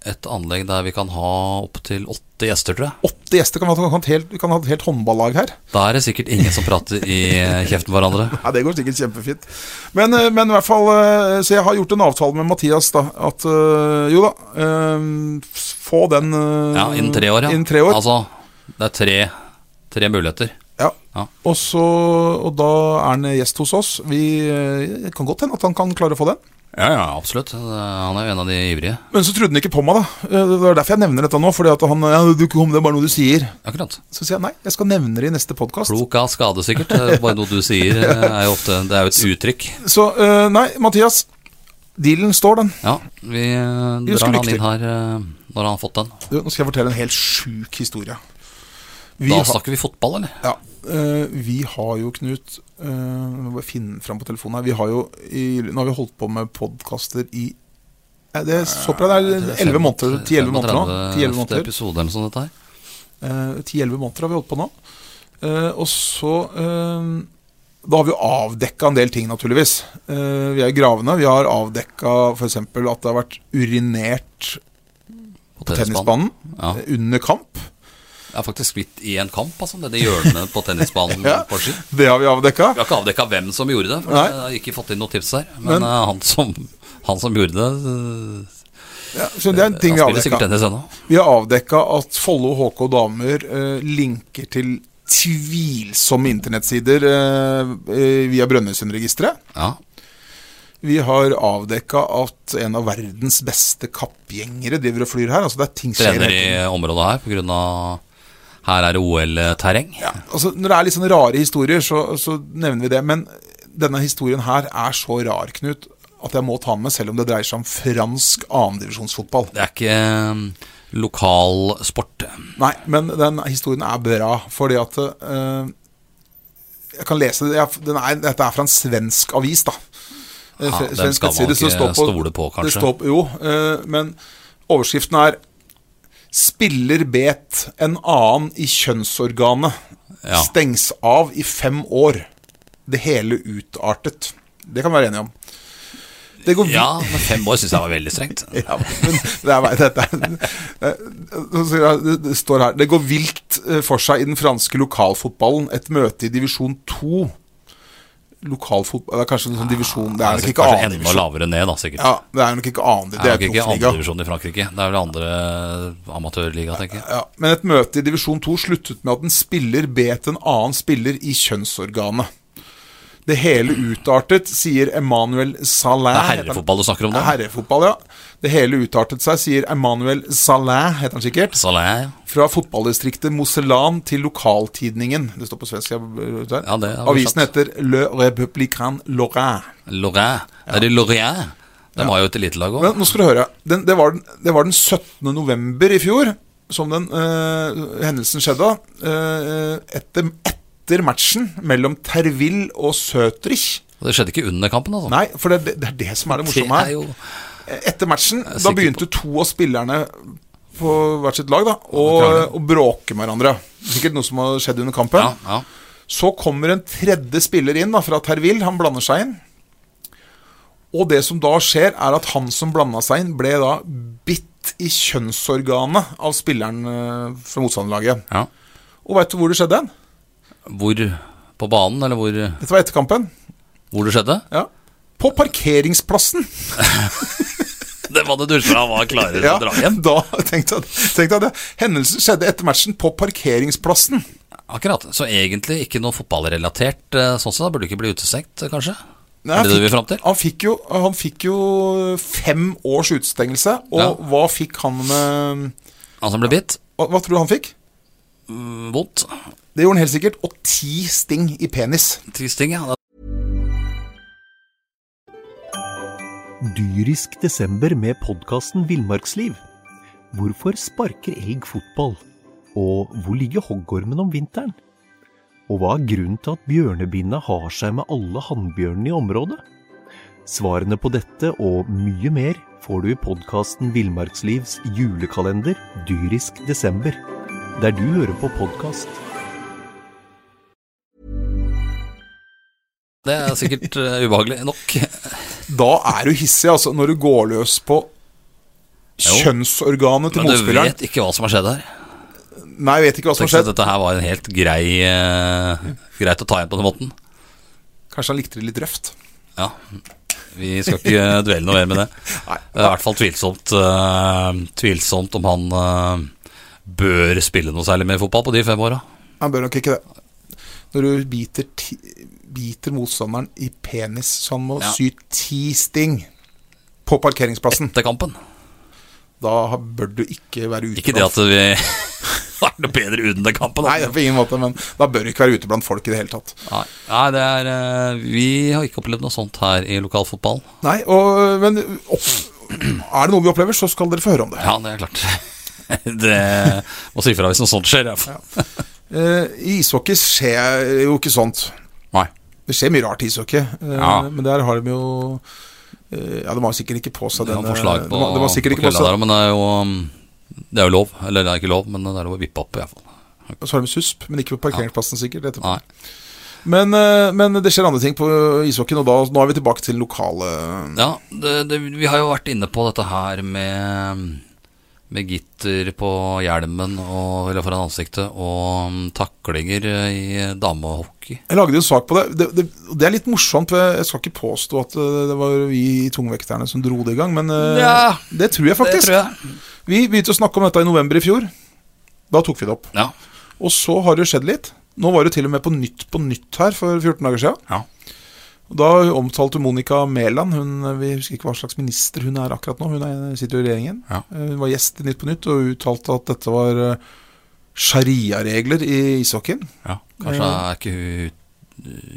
Speaker 2: et anlegg der vi kan ha opptil åtte gjester, tror jeg.
Speaker 1: Åtte gjester kan vi ha- kan ha et helt, kan ha et helt håndballag her.
Speaker 2: Da er det sikkert ingen som prater i kjeften på hverandre.
Speaker 1: Ja, Det går sikkert kjempefint. Men, eh, men i hvert fall eh, Så jeg har gjort en avtale med Mathias, da. At eh, jo da, eh, få den eh,
Speaker 2: Ja, Innen tre år, ja.
Speaker 1: Innen tre år.
Speaker 2: Altså, det er tre, tre muligheter.
Speaker 1: ja.
Speaker 2: Ja.
Speaker 1: Og, eh, så, og da er han gjest hos oss. Vi, eh, det kan godt hende at han kan klare å få den.
Speaker 2: Ja, ja, absolutt. eh, Han er jo en av de ivrige.
Speaker 1: Men så trodde han ikke på meg, da. Eh, Det er derfor jeg nevner dette nå. Fordi at han ja, du, kom, det er bare noe du sier.
Speaker 2: Akkurat.
Speaker 1: Så sier jeg nei, jeg skal nevne det i neste podkast.
Speaker 2: Klok av skade, sikkert. Det er Bare noe du sier, eh, er jo ofte Det er jo et uttrykk.
Speaker 1: Så eh, nei, Mathias. Dealen står, den.
Speaker 2: Ja, vi eh,
Speaker 1: Vi ønsker
Speaker 2: drar han
Speaker 1: lykke til.
Speaker 2: inn her eh, når han har fått den.
Speaker 1: Du, nå skal jeg fortelle en helt sjuk historie. Vi
Speaker 2: Da
Speaker 1: har-
Speaker 2: snakker vi fotball, eller?
Speaker 1: Ja, eh, vi har jo, Knut eh, Jeg må bare finne fram på telefonen her Vi har jo, i, nå har vi holdt på med podcaster i eh, Det er så bra, det er 11 måneder 10-11 måneder nå 10-11 måneder,
Speaker 2: Episode eller sånn dette her.
Speaker 1: Eh, 10-11 måneder har vi holdt på nå Eh, Og så eh, Da har vi jo avdekket en del ting naturligvis Eh, Vi er i gravene Vi har avdekket for eksempel at det har vært urinert
Speaker 2: På
Speaker 1: på tennisbanen
Speaker 2: Ja.
Speaker 1: eh, Under kamp
Speaker 2: Jeg har faktisk blitt i en kamp, altså. Nede i hjørnet på tennisbanen
Speaker 1: Ja.
Speaker 2: på ski.
Speaker 1: Det har vi avdekket
Speaker 2: Vi har ikke avdekka hvem som gjorde det, for
Speaker 1: Nei.
Speaker 2: jeg har ikke fått inn noen tips der. Men,
Speaker 1: Men-
Speaker 2: eh, han, som, han som gjorde det, eh,
Speaker 1: ja, Så det er en ting
Speaker 2: han spiller
Speaker 1: vi har avdekket
Speaker 2: sikkert tennis ennå.
Speaker 1: Vi har avdekka at Follo HK damer eh, linker til tvilsomme internettsider eh, eh, via Brønnøysundregisteret.
Speaker 2: Ja.
Speaker 1: Vi har avdekka at en av verdens beste kappgjengere driver og flyr her. Altså det er ting skjer
Speaker 2: Trener
Speaker 1: hele
Speaker 2: i
Speaker 1: tiden.
Speaker 2: området her pga. Her er det OL-terreng.
Speaker 1: ja, altså Når det er litt sånne rare historier, så, så nevner vi det. Men denne historien her er så rar, Knut, at jeg må ta den med, selv om det dreier seg om fransk andredivisjonsfotball.
Speaker 2: Det er ikke eh, lokal sport.
Speaker 1: Nei, men den historien er bra, fordi at eh, Jeg kan lese det. Jeg- Den er, dette er fra en svensk avis, da. Eh,
Speaker 2: Ja,
Speaker 1: sve-
Speaker 2: den
Speaker 1: svensk
Speaker 2: skal man
Speaker 1: nettside, så det
Speaker 2: ikke
Speaker 1: står
Speaker 2: stole på, kanskje.
Speaker 1: Det står, jo, eh, men overskriften er 'Spiller bet en annen i kjønnsorganet'.
Speaker 2: Ja.
Speaker 1: Stengs av i fem år. Det hele utartet. Det kan vi være enige om. Det går
Speaker 2: Ja, men fem år syns jeg var veldig strengt.
Speaker 1: ja, men det er meg, dette er Så sier jeg, det- Det står her Det går vilt eh, for seg i den franske lokalfotballen. Et møte i divisjon 2. Lokalfotball Det er kanskje en sånn divisjon Det er nok
Speaker 2: Altså,
Speaker 1: ikke
Speaker 2: kanskje
Speaker 1: annen
Speaker 2: enda
Speaker 1: divisjon.
Speaker 2: lavere ned, da, sikkert.
Speaker 1: Ja, det er nok ikke annen
Speaker 2: det er
Speaker 1: Det
Speaker 2: nok
Speaker 1: er
Speaker 2: ikke
Speaker 1: proffliga.
Speaker 2: andredivisjon i Frankrike. Det er vel andre eh, amatørliga, tenker jeg.
Speaker 1: Ja, men et møte i divisjon 2 sluttet med at en spiller bet en annen spiller i kjønnsorganet. Det hele utartet, sier Emmanuel
Speaker 2: Det er
Speaker 1: Salin. heter han.
Speaker 2: herrefotball du snakker om nå?
Speaker 1: Herrefotball, ja. Det hele utartet seg, sier Emmanuel Salin, heter han sikkert.
Speaker 2: Salé,
Speaker 1: Fra fotballdistriktet Mosellan til lokaltidningen. Det står på svensk. Jeg, der.
Speaker 2: Ja, det har vi
Speaker 1: Avisen
Speaker 2: sett.
Speaker 1: heter Le Républicain Lorrain.
Speaker 2: Lorrain. Er det Lorrain? De har jo et elitelag òg.
Speaker 1: Men nå skal du høre. Den, det, var den, det var den 17. november i fjor som den eh, hendelsen skjedde. eh, etter, etter matchen mellom Terville og Søtrich.
Speaker 2: Det skjedde ikke under kampen, altså.
Speaker 1: Nei, for det, det er det som er det
Speaker 2: det
Speaker 1: morsomme
Speaker 2: er
Speaker 1: her.
Speaker 2: jo
Speaker 1: Etter matchen,
Speaker 2: er
Speaker 1: da
Speaker 2: sikker
Speaker 1: begynte to av spillerne på hvert sitt lag da, å,
Speaker 2: krangler.
Speaker 1: å bråke med hverandre. Sikkert noe som har skjedd under kampen.
Speaker 2: Ja, ja.
Speaker 1: Så kommer en tredje spiller inn da, fra Terville. Han blander seg inn. Og det som da skjer, er at han som blanda seg inn, ble da bitt i kjønnsorganet av spilleren eh, fra motstanderlaget.
Speaker 2: ja.
Speaker 1: Og veit du hvor det skjedde? hen?
Speaker 2: Hvor på banen, eller hvor,
Speaker 1: Dette var etter kampen.
Speaker 2: hvor det skjedde?
Speaker 1: Ja. På parkeringsplassen!
Speaker 2: Det var det dusja han var klarere til
Speaker 1: Ja,
Speaker 2: å dra hjem.
Speaker 1: da tenkte jeg, tenkte jeg det. Hendelsen skjedde etter matchen på parkeringsplassen.
Speaker 2: Akkurat. Så egentlig ikke noe fotballrelatert eh, sånn sett. da. Burde ikke bli utestengt, eh, kanskje? er det
Speaker 1: Nei, han
Speaker 2: det du vil fram til?
Speaker 1: Han fikk, jo, han fikk jo fem års utestengelse, og
Speaker 2: Ja.
Speaker 1: hva fikk han med
Speaker 2: Han som ble bitt?
Speaker 1: hva, hva tror du han fikk?
Speaker 2: Mm, Vondt?
Speaker 1: Det gjorde han helt sikkert. Og ti sting i penis.
Speaker 2: Tristing, ja.
Speaker 3: Dyrisk desember med podkasten Villmarksliv. Hvorfor sparker elg fotball? Og hvor ligger hoggormen om vinteren? Og hva er grunnen til at bjørnebinna har seg med alle hannbjørnene i området? Svarene på dette og mye mer får du i podkasten Villmarkslivs julekalender Dyrisk desember, der du hører på podkast.
Speaker 2: Det er sikkert eh, ubehagelig nok.
Speaker 1: Da er du hissig, altså, når du går løs på kjønnsorganet til
Speaker 2: Men du
Speaker 1: motspilleren.
Speaker 2: vet ikke hva som har skjedd her.
Speaker 1: Nei, jeg vet ikke hva som
Speaker 2: Tenk
Speaker 1: har
Speaker 2: at
Speaker 1: skjedd.
Speaker 2: dette her var en helt grei eh, Greit å ta igjen på den måten.
Speaker 1: Kanskje han likte det litt røft.
Speaker 2: Ja, vi skal ikke dvele noe mer med det.
Speaker 1: Nei.
Speaker 2: Det er i hvert fall tvilsomt, eh, tvilsomt om han eh, bør spille noe særlig mer fotball på de fem åra.
Speaker 1: Han bør nok ikke det. Når du biter, ti, biter motstanderen i penis, så han må
Speaker 2: Ja.
Speaker 1: sy ti sting. på parkeringsplassen.
Speaker 2: etter kampen.
Speaker 1: Da har- bør du ikke være ute.
Speaker 2: Ikke det
Speaker 1: blant-
Speaker 2: at vi er noe bedre under kampen.
Speaker 1: Nei, det er på ingen måte, men da bør du ikke være ute blant folk i det hele tatt.
Speaker 2: Nei, nei det er, eh, vi har ikke opplevd noe sånt her i lokalfotballen.
Speaker 1: Nei, og, men opp, er det noe vi opplever, så skal dere få høre om det.
Speaker 2: Ja, det er klart. det må si ifra hvis noe sånt skjer. Ja.
Speaker 1: Eh, I ishockey skjer jo ikke sånt.
Speaker 2: Nei.
Speaker 1: Det skjer mye rart i ishockey, eh,
Speaker 2: Ja.
Speaker 1: men der har de jo eh, Ja, de har sikkert ikke på seg
Speaker 2: eh, Det er noen
Speaker 1: denne
Speaker 2: forslag
Speaker 1: de
Speaker 2: på,
Speaker 1: har- de har
Speaker 2: på
Speaker 1: sikkert ikke på
Speaker 2: kvelda
Speaker 1: seg
Speaker 2: der, men det er jo um, Det er jo lov. Eller det er ikke lov, men det er lov å vippe opp, iallfall.
Speaker 1: Så har de susp, men ikke på parkeringsplassen, sikkert. Etterpå.
Speaker 2: Nei.
Speaker 1: Men, eh, men det skjer andre ting på ishockeyen, og da, nå er vi tilbake til lokale
Speaker 2: Ja, det, det, vi har jo vært inne på dette her med, med gitter på hjelmen og, eller foran ansiktet og um, taklinger eh, i damehockey.
Speaker 1: Jeg lagde jo en sak på det. Det, det. det er litt morsomt, for jeg- jeg skal ikke påstå at eh, det var vi tungvekterne som dro det i gang, men eh,
Speaker 2: Ja,
Speaker 1: det tror jeg faktisk.
Speaker 2: Det tror jeg.
Speaker 1: Vi begynte å snakke om dette i november i fjor. Da tok vi det opp.
Speaker 2: Ja.
Speaker 1: Og så har det skjedd litt. Nå var det til og med på Nytt på Nytt her for 14 dager siden.
Speaker 2: Ja.
Speaker 1: Og Da omtalte Monica Mæland, hun, vi husker ikke hva slags minister hun er akkurat nå, hun er, sitter jo i regjeringen.
Speaker 2: Ja.
Speaker 1: Eh, Hun var gjest i Nytt på Nytt og uttalte at dette var eh, sharia-regler i ishockeyen.
Speaker 2: ja.
Speaker 1: Eh,
Speaker 2: Kanskje er ikke hun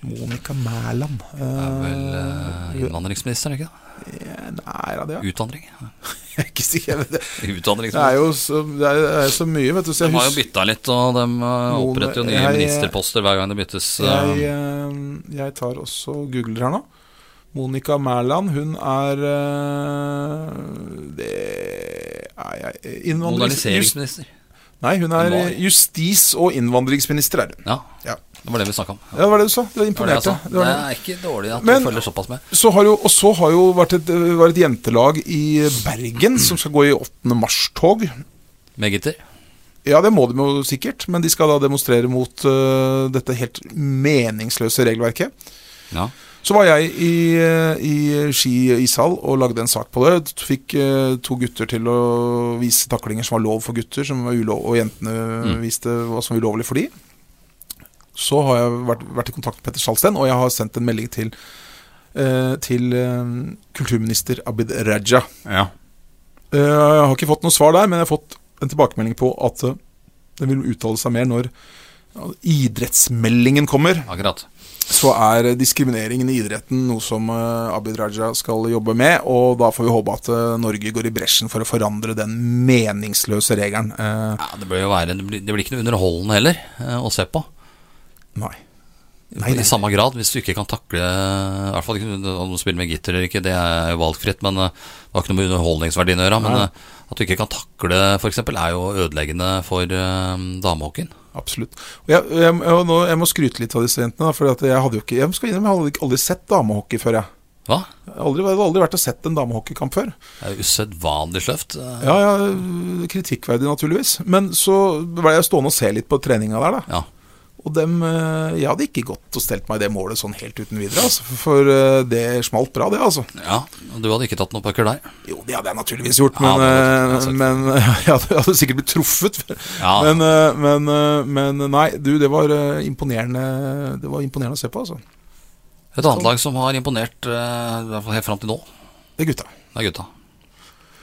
Speaker 1: Monica Mæland eh,
Speaker 2: er vel eh, innvandringsminister, er det ikke det?
Speaker 1: Nei, ja, det er
Speaker 2: Utvandring?
Speaker 1: jeg er ikke sikker på. Det
Speaker 2: Utvandringsminister.
Speaker 1: er jo så, det er, det er så mye, vet du. Så
Speaker 2: De
Speaker 1: jeg
Speaker 2: har jo
Speaker 1: husker-
Speaker 2: bytta litt, og de eh, oppretter jo nye
Speaker 1: Jeg-
Speaker 2: ministerposter hver gang det byttes.
Speaker 1: Jeg,
Speaker 2: eh,
Speaker 1: eh, jeg tar også og googler her nå. Monica Mæland, hun er eh, Det er jeg innvandrings- just-
Speaker 2: Moderniseringsminister.
Speaker 1: Nei, hun er
Speaker 2: Nei.
Speaker 1: eh, justis- og innvandringsminister, er hun.
Speaker 2: Ja,
Speaker 1: Ja.
Speaker 2: det var det vi snakka om.
Speaker 1: Ja, det var det du sa. Du
Speaker 2: Det, var det, jeg
Speaker 1: imponerte.
Speaker 2: sa.
Speaker 1: Det var
Speaker 2: det
Speaker 1: det.
Speaker 2: er ikke dårlig at
Speaker 1: Men-
Speaker 2: du følger såpass med.
Speaker 1: Så har jo, og så har jo vært et, eh, var et jentelag i Bergen som skal gå i 8. mars-tog.
Speaker 2: Med gitter.
Speaker 1: Ja, det må de jo sikkert, men de skal da demonstrere mot eh, dette helt meningsløse regelverket.
Speaker 2: Ja.
Speaker 1: Så var jeg i, eh, i Ski ishall og lagde en sak på det. Fikk eh, to gutter til å vise taklinger som var lov for gutter, som var ulov, og jentene
Speaker 2: Mm.
Speaker 1: viste hva som var ulovlig for de. Så har jeg vært, vært i kontakt med Petter Sjalsten, og jeg har sendt en melding til, eh, til eh, kulturminister Abid Raja. Eh, Jeg har ikke fått noe svar der, men jeg har fått en tilbakemelding på at eh, den vil uttale seg mer når ja, idrettsmeldingen kommer
Speaker 2: Akkurat.
Speaker 1: så er diskrimineringen i idretten noe som eh, Abid Raja skal jobbe med, og da får vi håpe at eh, Norge går i bresjen for å forandre den meningsløse regelen. Eh,
Speaker 2: Ja, det, blir jo være, det, blir, det blir ikke noe underholdende heller eh, å se på.
Speaker 1: nei. Nei, nei.
Speaker 2: I samme grad, hvis du ikke kan takle I hvert fall ikke om du spiller med gitter eller ikke, det er jo valgfritt, men eh, det har ikke noe med underholdningsverdien å gjøre. Men
Speaker 1: Nei.
Speaker 2: eh, at du ikke kan takle, f.eks., er jo ødeleggende for eh, damehockeyen.
Speaker 1: Absolutt. Og jeg, jeg, jeg, nå, jeg må skryte litt av disse jentene, for jeg hadde jo ikke Jeg skal innrømme, jeg hadde ikke- aldri sett damehockey før, jeg.
Speaker 2: Hva?
Speaker 1: Jeg har aldri, jeg hadde aldri vært og sett en damehockeykamp før.
Speaker 2: Det er jo usedvanlig sløvt. eh,
Speaker 1: Ja, ja, Kritikkverdig, naturligvis. Men så ble jeg stående og se litt på treninga der, da.
Speaker 2: Ja.
Speaker 1: Og dem, eh, jeg hadde ikke gått og stelt meg det målet sånn helt uten videre, altså. For- For eh, det smalt bra, det, altså.
Speaker 2: ja. og Du hadde ikke tatt noen pucker der.
Speaker 1: Jo, det hadde jeg naturligvis gjort,
Speaker 2: Ja,
Speaker 1: men,
Speaker 2: det hadde
Speaker 1: eh,
Speaker 2: du
Speaker 1: men jeg hadde, jeg hadde sikkert blitt truffet.
Speaker 2: Ja.
Speaker 1: Men, eh, men, eh, men nei, du, det var eh, imponerende Det var imponerende å se på, altså.
Speaker 2: Et annet lag som har imponert, eh, i hvert fall helt fram til nå,
Speaker 1: Det er gutta.
Speaker 2: det er gutta.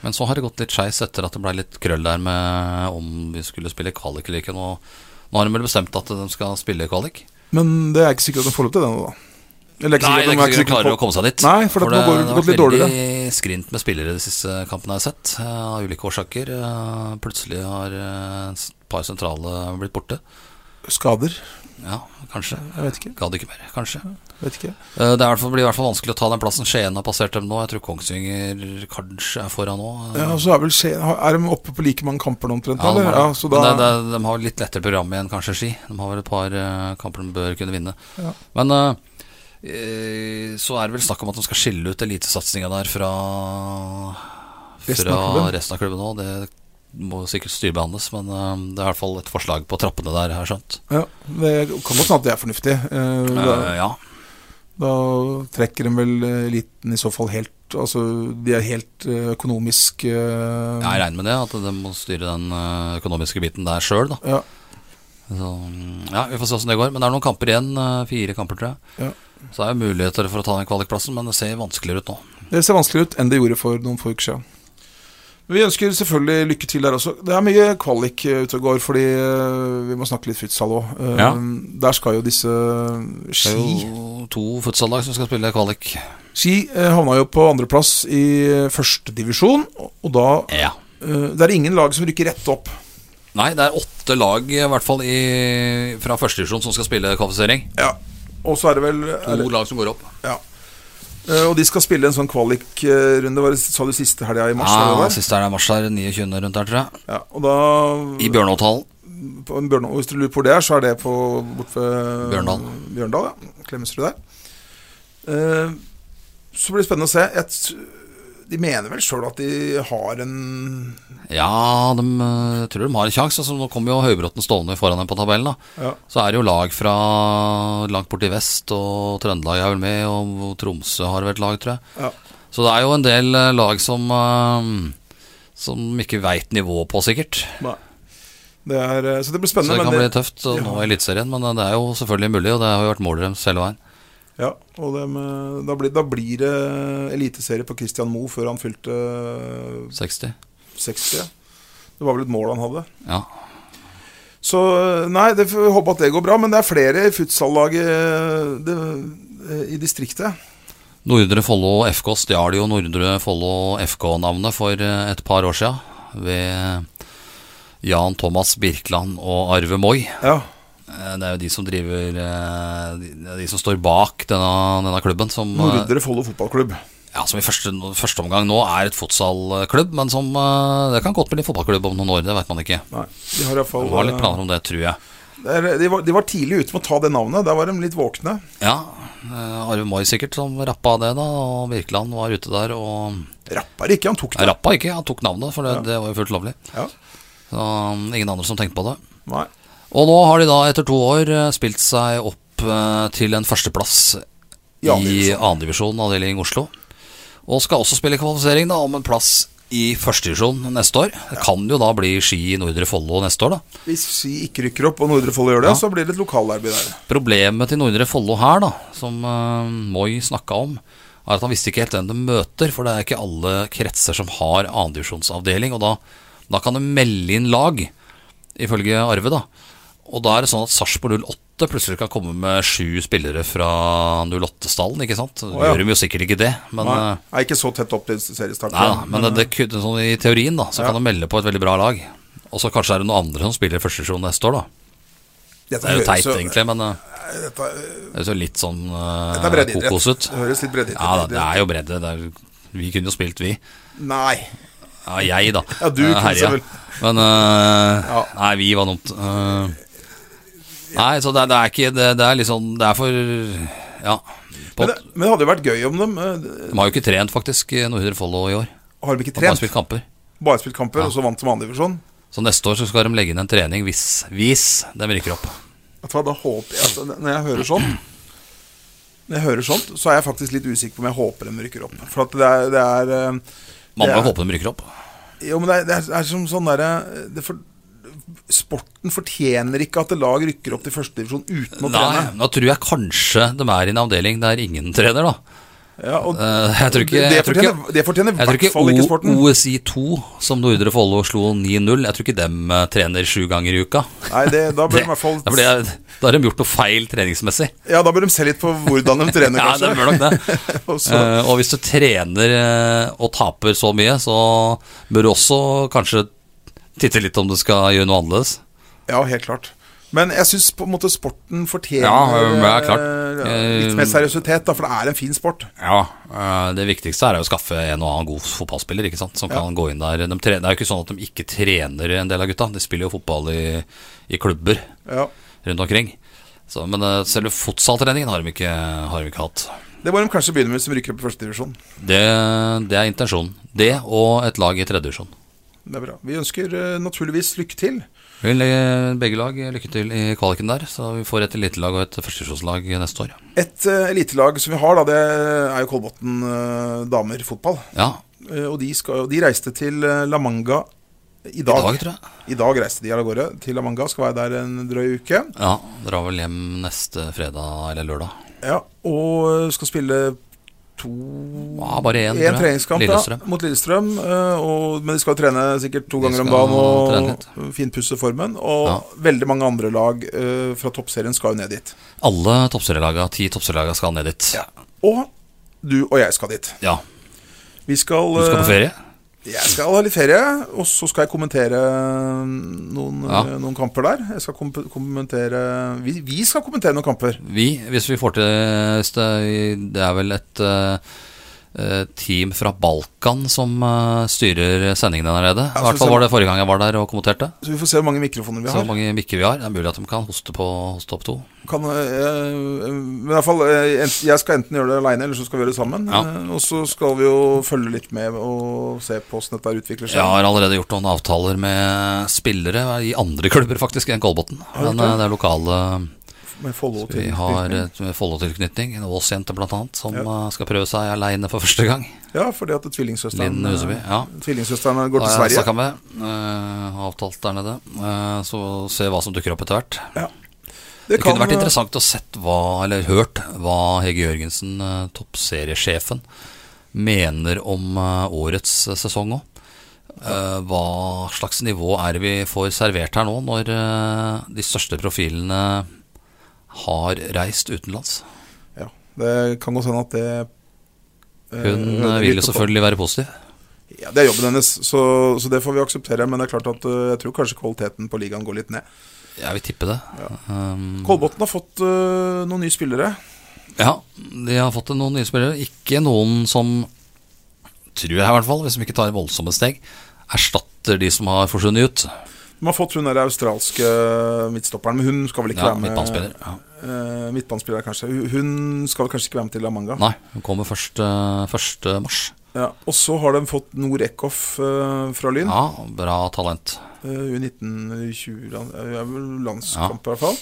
Speaker 2: Men så har det gått litt skeis etter at det ble litt krøll der med om vi skulle spille kvalik eller ikke. Nå, nå har de vel bestemt at de skal spille kvalik.
Speaker 1: Men det er ikke sikkert at de får lov til det nå, da. Eller
Speaker 2: Nei, det er ikke sikkert de klarer å
Speaker 1: på-
Speaker 2: komme seg dit.
Speaker 1: Nei, for, det, nå går,
Speaker 2: det
Speaker 1: det
Speaker 2: har
Speaker 1: gått litt
Speaker 2: vært
Speaker 1: dårligere.
Speaker 2: veldig skrint med spillere de siste kampene jeg har sett, eh, av ulike årsaker. Eh, Plutselig har eh, et par sentrale blitt borte.
Speaker 1: Skader.
Speaker 2: Ja, kanskje.
Speaker 1: Jeg vet ikke.
Speaker 2: Gadd ikke mer, kanskje.
Speaker 1: Vet ikke.
Speaker 2: Eh, Det er i hvert fall- blir i hvert fall vanskelig å ta den plassen Skien har passert dem nå. Jeg tror Kongsvinger kanskje er foran nå.
Speaker 1: Ja, og så Er vel Skien Er de oppe på like mange kamper nå omtrent?
Speaker 2: Ja, de,
Speaker 1: eller?
Speaker 2: har,
Speaker 1: ja, så da,
Speaker 2: men det, det, de har litt lettere program igjen, kanskje Ski. De har vel et par eh, kamper de bør kunne vinne.
Speaker 1: Ja.
Speaker 2: Men eh, eh, så er det vel snakk om at de skal skille ut elitesatsinga der fra,
Speaker 1: Resten
Speaker 2: fra
Speaker 1: av klubben.
Speaker 2: resten av klubben òg. Det må sikkert styrebehandles, men eh, det er i hvert fall et forslag på trappene der, har jeg skjønt.
Speaker 1: ja, det kan godt hende at det er fornuftig. Eh, da,
Speaker 2: Eh, ja.
Speaker 1: Da trekker de vel eh, eliten i så fall helt Altså, de er helt eh, økonomisk eh,
Speaker 2: Jeg regner med det, at de må styre den eh, økonomiske biten der sjøl, da.
Speaker 1: Ja.
Speaker 2: Så, ja, vi får se åssen det går. Men det er noen kamper igjen. eh, Fire kamper, tror jeg.
Speaker 1: Ja.
Speaker 2: Så er det muligheter for å ta den kvalikplassen, men det ser vanskeligere ut nå.
Speaker 1: Det ser vanskeligere ut enn det gjorde for noen få uker siden. Men Vi ønsker selvfølgelig lykke til der også. Det er mye kvalik eh, ute og går, fordi eh, vi må snakke litt futsal òg.
Speaker 2: Ja.
Speaker 1: Der skal jo disse
Speaker 2: Det er
Speaker 1: ski
Speaker 2: jo to futsallag som skal spille kvalik.
Speaker 1: Ski eh, havna jo på andreplass i førstedivisjon, og da
Speaker 2: Ja.
Speaker 1: eh, Det er ingen lag som rykker rett opp.
Speaker 2: Nei, det er åtte lag i hvert fall i, fra førstedivisjon som skal spille kvalifisering.
Speaker 1: Ja. Og så er det vel
Speaker 2: To
Speaker 1: er det,
Speaker 2: lag som går opp.
Speaker 1: ja. Eh, Og de skal spille en sånn kvalikrunde, var det- sa du siste helga i mars? var
Speaker 2: Ja,
Speaker 1: det der?
Speaker 2: siste er det mars her. 29. rundt her, tror jeg.
Speaker 1: ja, og da
Speaker 2: I Bjørnåthallen.
Speaker 1: på en Bjørndal. Og Hvis du lurer på hvor det er, så er det på, bort ved
Speaker 2: Bjørndal.
Speaker 1: Bjørndal, ja. Klemetsrud der. Eh, så blir det spennende å se. Jeg, t- de mener vel sjøl at de har en
Speaker 2: Ja, de eh, tror de har en sjanse. Altså, nå kommer jo Høybråten stående foran dem på tabellen. da
Speaker 1: ja.
Speaker 2: Så er det jo lag fra langt borti vest, og Trøndelag er vel med, og Tromsø har vel et lag, tror jeg.
Speaker 1: Ja.
Speaker 2: Så det er jo en del eh, lag som eh, Som ikke veit nivået på, sikkert.
Speaker 1: Nei. Det er, eh, så det blir
Speaker 2: Så det
Speaker 1: spennende.
Speaker 2: kan
Speaker 1: men
Speaker 2: bli
Speaker 1: det-
Speaker 2: tøft og nå i Eliteserien, men eh, det er jo selvfølgelig mulig, og det har jo vært målet deres hele veien.
Speaker 1: ja, og det med, da, blir, da blir det eliteserie på Christian Moe før han fylte
Speaker 2: 60.
Speaker 1: 60. Det var vel et mål han hadde.
Speaker 2: Ja.
Speaker 1: Så eh, nei, det får vi håpe at det går bra. Men det er flere i futsallag eh, det- i distriktet.
Speaker 2: Nordre Follo FK stjal jo Nordre Follo FK-navnet for eh, et par år sia. Ved eh, Jan Thomas Birkeland og Arve Moi.
Speaker 1: Ja,
Speaker 2: Eh, Det er jo de som driver eh, De, det er de som står bak denne, denne klubben, som, eh,
Speaker 1: Nordre Follo fotballklubb.
Speaker 2: ja, som i første, første omgang nå er et futsalklubb, men som eh, Det kan godt bli en fotballklubb om noen år, det veit man ikke.
Speaker 1: Nei, de har i hvert fall eh,
Speaker 2: De har litt planer om det, tror jeg.
Speaker 1: Det er- de, var, de var tidlig ute med å ta det navnet. Der var de litt våkne.
Speaker 2: Ja, eh, Arve Moi sikkert som rappa det, da, og Birkeland var ute der og
Speaker 1: Rapper ikke, han tok
Speaker 2: Nei,
Speaker 1: det.
Speaker 2: rappa ikke, han tok navnet, for det, det var jo fullt lovlig.
Speaker 1: Ja.
Speaker 2: Så um, ingen andre som tenkte på det.
Speaker 1: Nei.
Speaker 2: Og nå har de da etter to år eh, spilt seg opp eh, til en førsteplass i
Speaker 1: I annen divisjon.
Speaker 2: annendivisjon, avdeling Oslo. Og skal også spille kvalifisering da om en plass i førstedivisjon neste år. Det kan jo da bli Ski i Nordre Follo neste år, da.
Speaker 1: Hvis Ski ikke rykker opp og Nordre Follo gjør det,
Speaker 2: Ja.
Speaker 1: så blir det et lokalderby der.
Speaker 2: Problemet til Nordre Follo her, da, som eh, Moi snakka om, er at han visste ikke helt hvem de møter, for det er ikke alle kretser som har annendivisjonsavdeling. Og da, da kan de melde inn lag, ifølge Arve, da. Og da er det sånn at Sarpsborg 08 plutselig kan komme med sju spillere fra 08-stallen, ikke sant?
Speaker 1: ja.
Speaker 2: Gjør de jo sikkert ikke det, men
Speaker 1: Nei,
Speaker 2: eh,
Speaker 1: er ikke så tett opp til seriestart.
Speaker 2: Nei da, men det, det, kunne- sånn i teorien da, så kan de melde på et veldig bra lag. Og så kanskje er det noen andre som spiller første divisjon neste år, da.
Speaker 1: dette
Speaker 2: Det er jo
Speaker 1: høres
Speaker 2: teit, egentlig, men eh,
Speaker 1: Dette, er-
Speaker 2: det høres jo litt sånn eh,
Speaker 1: dette er breddeidrett.
Speaker 2: kokos ut.
Speaker 1: Det høres litt breddeidrett
Speaker 2: Ja da, det er jo bredde. Det er, vi kunne jo spilt, vi.
Speaker 1: Nei.
Speaker 2: Ja, jeg, da.
Speaker 1: Ja, du
Speaker 2: Eh,
Speaker 1: kunne
Speaker 2: herja.
Speaker 1: selvfølgelig.
Speaker 2: Men eh,
Speaker 1: Ja.
Speaker 2: Nei, vi var dumt. Eh, nei, så det, er- det er ikke Det, det er liksom Det er for Ja. På,
Speaker 1: Men det, men det hadde jo vært gøy om dem eh,
Speaker 2: de har jo ikke trent, faktisk, i Nordre Follo i år.
Speaker 1: Har de ikke
Speaker 2: De har bare
Speaker 1: trent?
Speaker 2: spilt kamper.
Speaker 1: Bare spilt kamper, og så vant som andredivisjon?
Speaker 2: Så neste år så skal de legge inn en trening hvis, hvis de rykker opp.
Speaker 1: Vet du hva, da håper jeg at Når jeg hører sånn Når jeg hører sånt, så er jeg faktisk litt usikker på om jeg håper de rykker opp. For at det er, det er eh,
Speaker 2: Man må
Speaker 1: Det
Speaker 2: jo
Speaker 1: er-
Speaker 2: håpe de rykker opp.
Speaker 1: Jo, men det er, det er, det er som sånn derre det for- Sporten fortjener ikke at et lag rykker opp til førstedivisjon uten å
Speaker 2: Nei,
Speaker 1: trene.
Speaker 2: da tror jeg kanskje de er i en avdeling der ingen trener, da.
Speaker 1: Ja, og
Speaker 2: Eh, jeg tror ikke-
Speaker 1: det,
Speaker 2: jeg tror ikke-
Speaker 1: fortjener, det fortjener i
Speaker 2: Jeg tror
Speaker 1: hvert fall ikke
Speaker 2: ikke
Speaker 1: sporten.
Speaker 2: OSI2, som Nordre Follo slo 9-0, jeg tror ikke dem eh, trener sju ganger i uka.
Speaker 1: Nei, det, da bør
Speaker 2: Det,
Speaker 1: de i hvert fall
Speaker 2: da, blir jeg, da har de gjort noe feil treningsmessig.
Speaker 1: Ja, da bør de se litt på hvordan de trener,
Speaker 2: Ja,
Speaker 1: kanskje.
Speaker 2: de bør nok det.
Speaker 1: Og så-
Speaker 2: Eh, og hvis du trener eh, og taper så mye, så bør du også kanskje titte litt om du skal gjøre noe annerledes.
Speaker 1: Ja, helt klart. Men jeg syns på en måte sporten fortjener
Speaker 2: Ja, ja, klart.
Speaker 1: eh, litt mer seriøsitet, da, for det er en fin sport.
Speaker 2: Ja, eh, Det viktigste er jo å skaffe en og annen god fotballspiller ikke sant? som kan gå inn der. De tre- det er jo ikke sånn at de ikke trener en del av gutta. De spiller jo fotball i, i klubber
Speaker 1: Ja.
Speaker 2: rundt omkring. Så, men eh, selve fotsaltreningen har de ikke, har de ikke hatt.
Speaker 1: Det må de kanskje begynne med hvis de rykker opp i første divisjon.
Speaker 2: Det, det er intensjonen. Det og et lag i tredje divisjon.
Speaker 1: Det er bra. Vi ønsker eh, naturligvis lykke til.
Speaker 2: Vil eh, begge lag lykke til i kvaliken der, så vi får et elitelag og et førstesjåslag neste år.
Speaker 1: Et eh, elitelag som vi har, da, det er jo Kolbotn eh, damer fotball.
Speaker 2: Ja,
Speaker 1: Eh, og de, skal, de reiste til eh, La Manga i
Speaker 2: i
Speaker 1: dag.
Speaker 2: dag, tror jeg.
Speaker 1: I dag reiste de av gårde til La Manga, skal være der en drøy uke.
Speaker 2: Ja, Drar vel hjem neste fredag eller lørdag.
Speaker 1: Ja, Og eh, skal spille to
Speaker 2: Ja, bare én, tror
Speaker 1: Én
Speaker 2: jeg.
Speaker 1: treningskamp
Speaker 2: Lillestrøm.
Speaker 1: da, mot Lillestrøm. eh, Og, men de skal trene sikkert to
Speaker 2: De
Speaker 1: ganger om
Speaker 2: skal
Speaker 1: dagen
Speaker 2: trene
Speaker 1: og finpusse formen. Og
Speaker 2: Ja.
Speaker 1: veldig mange andre lag eh, fra toppserien skal jo ned dit.
Speaker 2: Alle toppserielaga, ti toppserielaga skal ned dit. Ja.
Speaker 1: Og du og jeg skal dit. Vi skal,
Speaker 2: Du skal
Speaker 1: eh,
Speaker 2: på ferie?
Speaker 1: Jeg skal ha litt ferie, og så skal jeg kommentere eh, noen,
Speaker 2: Ja.
Speaker 1: eh, noen kamper der. Jeg skal kom kommentere vi, vi skal kommentere noen kamper.
Speaker 2: Vi, hvis vi får til hvis det, det er vel et eh, eh, team fra Balkan som eh, styrer sendingen der nede.
Speaker 1: Ja,
Speaker 2: I hvert
Speaker 1: så-
Speaker 2: fall var det forrige gang jeg var der og kommenterte.
Speaker 1: Så vi får se hvor mange mikrofoner vi
Speaker 2: Så
Speaker 1: har.
Speaker 2: mange mikker vi har. Det er mulig at de kan hoste på hoste opp to.
Speaker 1: Kan, eh, eh, men i hvert fall, eh, ent- jeg skal enten gjøre det aleine, eller så skal vi gjøre det sammen.
Speaker 2: Ja.
Speaker 1: Eh, Og så skal vi jo følge litt med og se på åssen dette her utvikler seg.
Speaker 2: Jeg har allerede gjort noen avtaler med spillere i andre klubber faktisk enn Kolbotn.
Speaker 1: du
Speaker 2: Men
Speaker 1: det?
Speaker 2: eh, det er lokale
Speaker 1: Med Follo til
Speaker 2: Vi har
Speaker 1: virkning.
Speaker 2: eh, Follo-tilknytning. En Ås-jente blant annet som eh, skal prøve seg aleine for første gang.
Speaker 1: Ja, fordi at
Speaker 2: Linn
Speaker 1: tvillingsøsteren
Speaker 2: Huseby.
Speaker 1: eh,
Speaker 2: Ja.
Speaker 1: Tvillingsøsteren går
Speaker 2: Da
Speaker 1: til
Speaker 2: har jeg
Speaker 1: Sverige.
Speaker 2: snakka med. eh, har avtalt der nede. Eh, så se hva som dukker opp etter hvert.
Speaker 1: Ja.
Speaker 2: Det kunne vært
Speaker 1: eh,
Speaker 2: interessant å sett hva, eller hørt hva Hege Jørgensen, eh, toppseriesjefen, mener om eh, årets eh, sesong òg. hva slags nivå er det vi får servert her nå, når eh, de største profilene har reist utenlands?
Speaker 1: Ja, det kan godt hende at det eh,
Speaker 2: Hun eh,
Speaker 1: ødelegger
Speaker 2: vil jo
Speaker 1: litt på-
Speaker 2: selvfølgelig være positiv.
Speaker 1: Ja, Det er jobben hennes, så, så det får vi akseptere. Men det er klart at øh, jeg tror kanskje kvaliteten på ligaen går litt ned.
Speaker 2: Jeg vil tippe det. Um,
Speaker 1: Kolbotn har fått øh, noen nye spillere.
Speaker 2: Ja, de har fått noen nye spillere. Ikke noen som, tror jeg i hvert fall, hvis de ikke tar voldsomme steg, erstatter de som har forsvunnet ut.
Speaker 1: De har fått hun der australske midtstopperen, men hun skal vel ikke
Speaker 2: Ja,
Speaker 1: være med?
Speaker 2: midtbanespiller. Ja.
Speaker 1: Eh, midtbanespiller, kanskje. Hun- Hun skal vel kanskje ikke være med til La Manga.
Speaker 2: Nei, hun kommer først, eh, 1. mars.
Speaker 1: Ja, og så har de fått Nor Eckhoff øh, fra Lyn.
Speaker 2: Ja, bra talent.
Speaker 1: Eh, U19 eller 20 land- eh, er vel landskamp, i hvert fall.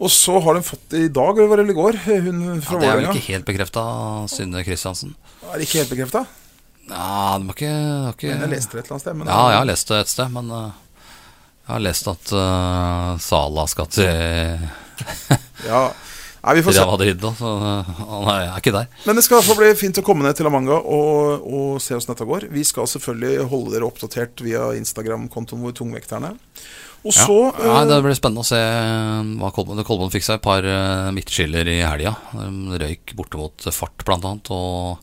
Speaker 1: Og så har de fått i dag, eller var det i går, eh, hun
Speaker 2: Ja,
Speaker 1: fra
Speaker 2: det er vel
Speaker 1: Vålerenga.
Speaker 2: ikke helt bekrefta, Synne Kristiansen.
Speaker 1: Er det ikke helt bekrefta?
Speaker 2: Ja, de har ikke, de har
Speaker 1: Jeg
Speaker 2: ikke
Speaker 1: leste det et eller annet sted. Men
Speaker 2: Ja, jeg har lest det et sted, men eh, jeg har lest at eh, Sala skal til
Speaker 1: ja. Nei, vi får se.
Speaker 2: Real Madrid, da, så eh, han er, er ikke der.
Speaker 1: Men det skal i hvert fall bli fint å komme ned til Amanga og, og se hvordan dette går. Vi skal selvfølgelig holde dere oppdatert via Instagram-kontoen vår, Tungvekterne. Og så
Speaker 2: ja. Nei,
Speaker 1: eh,
Speaker 2: Det blir spennende å se eh, hva Kolbånd Kolbånd fikk seg et par eh, midtskiller i helga. De Røyk borte mot Fart, blant annet, og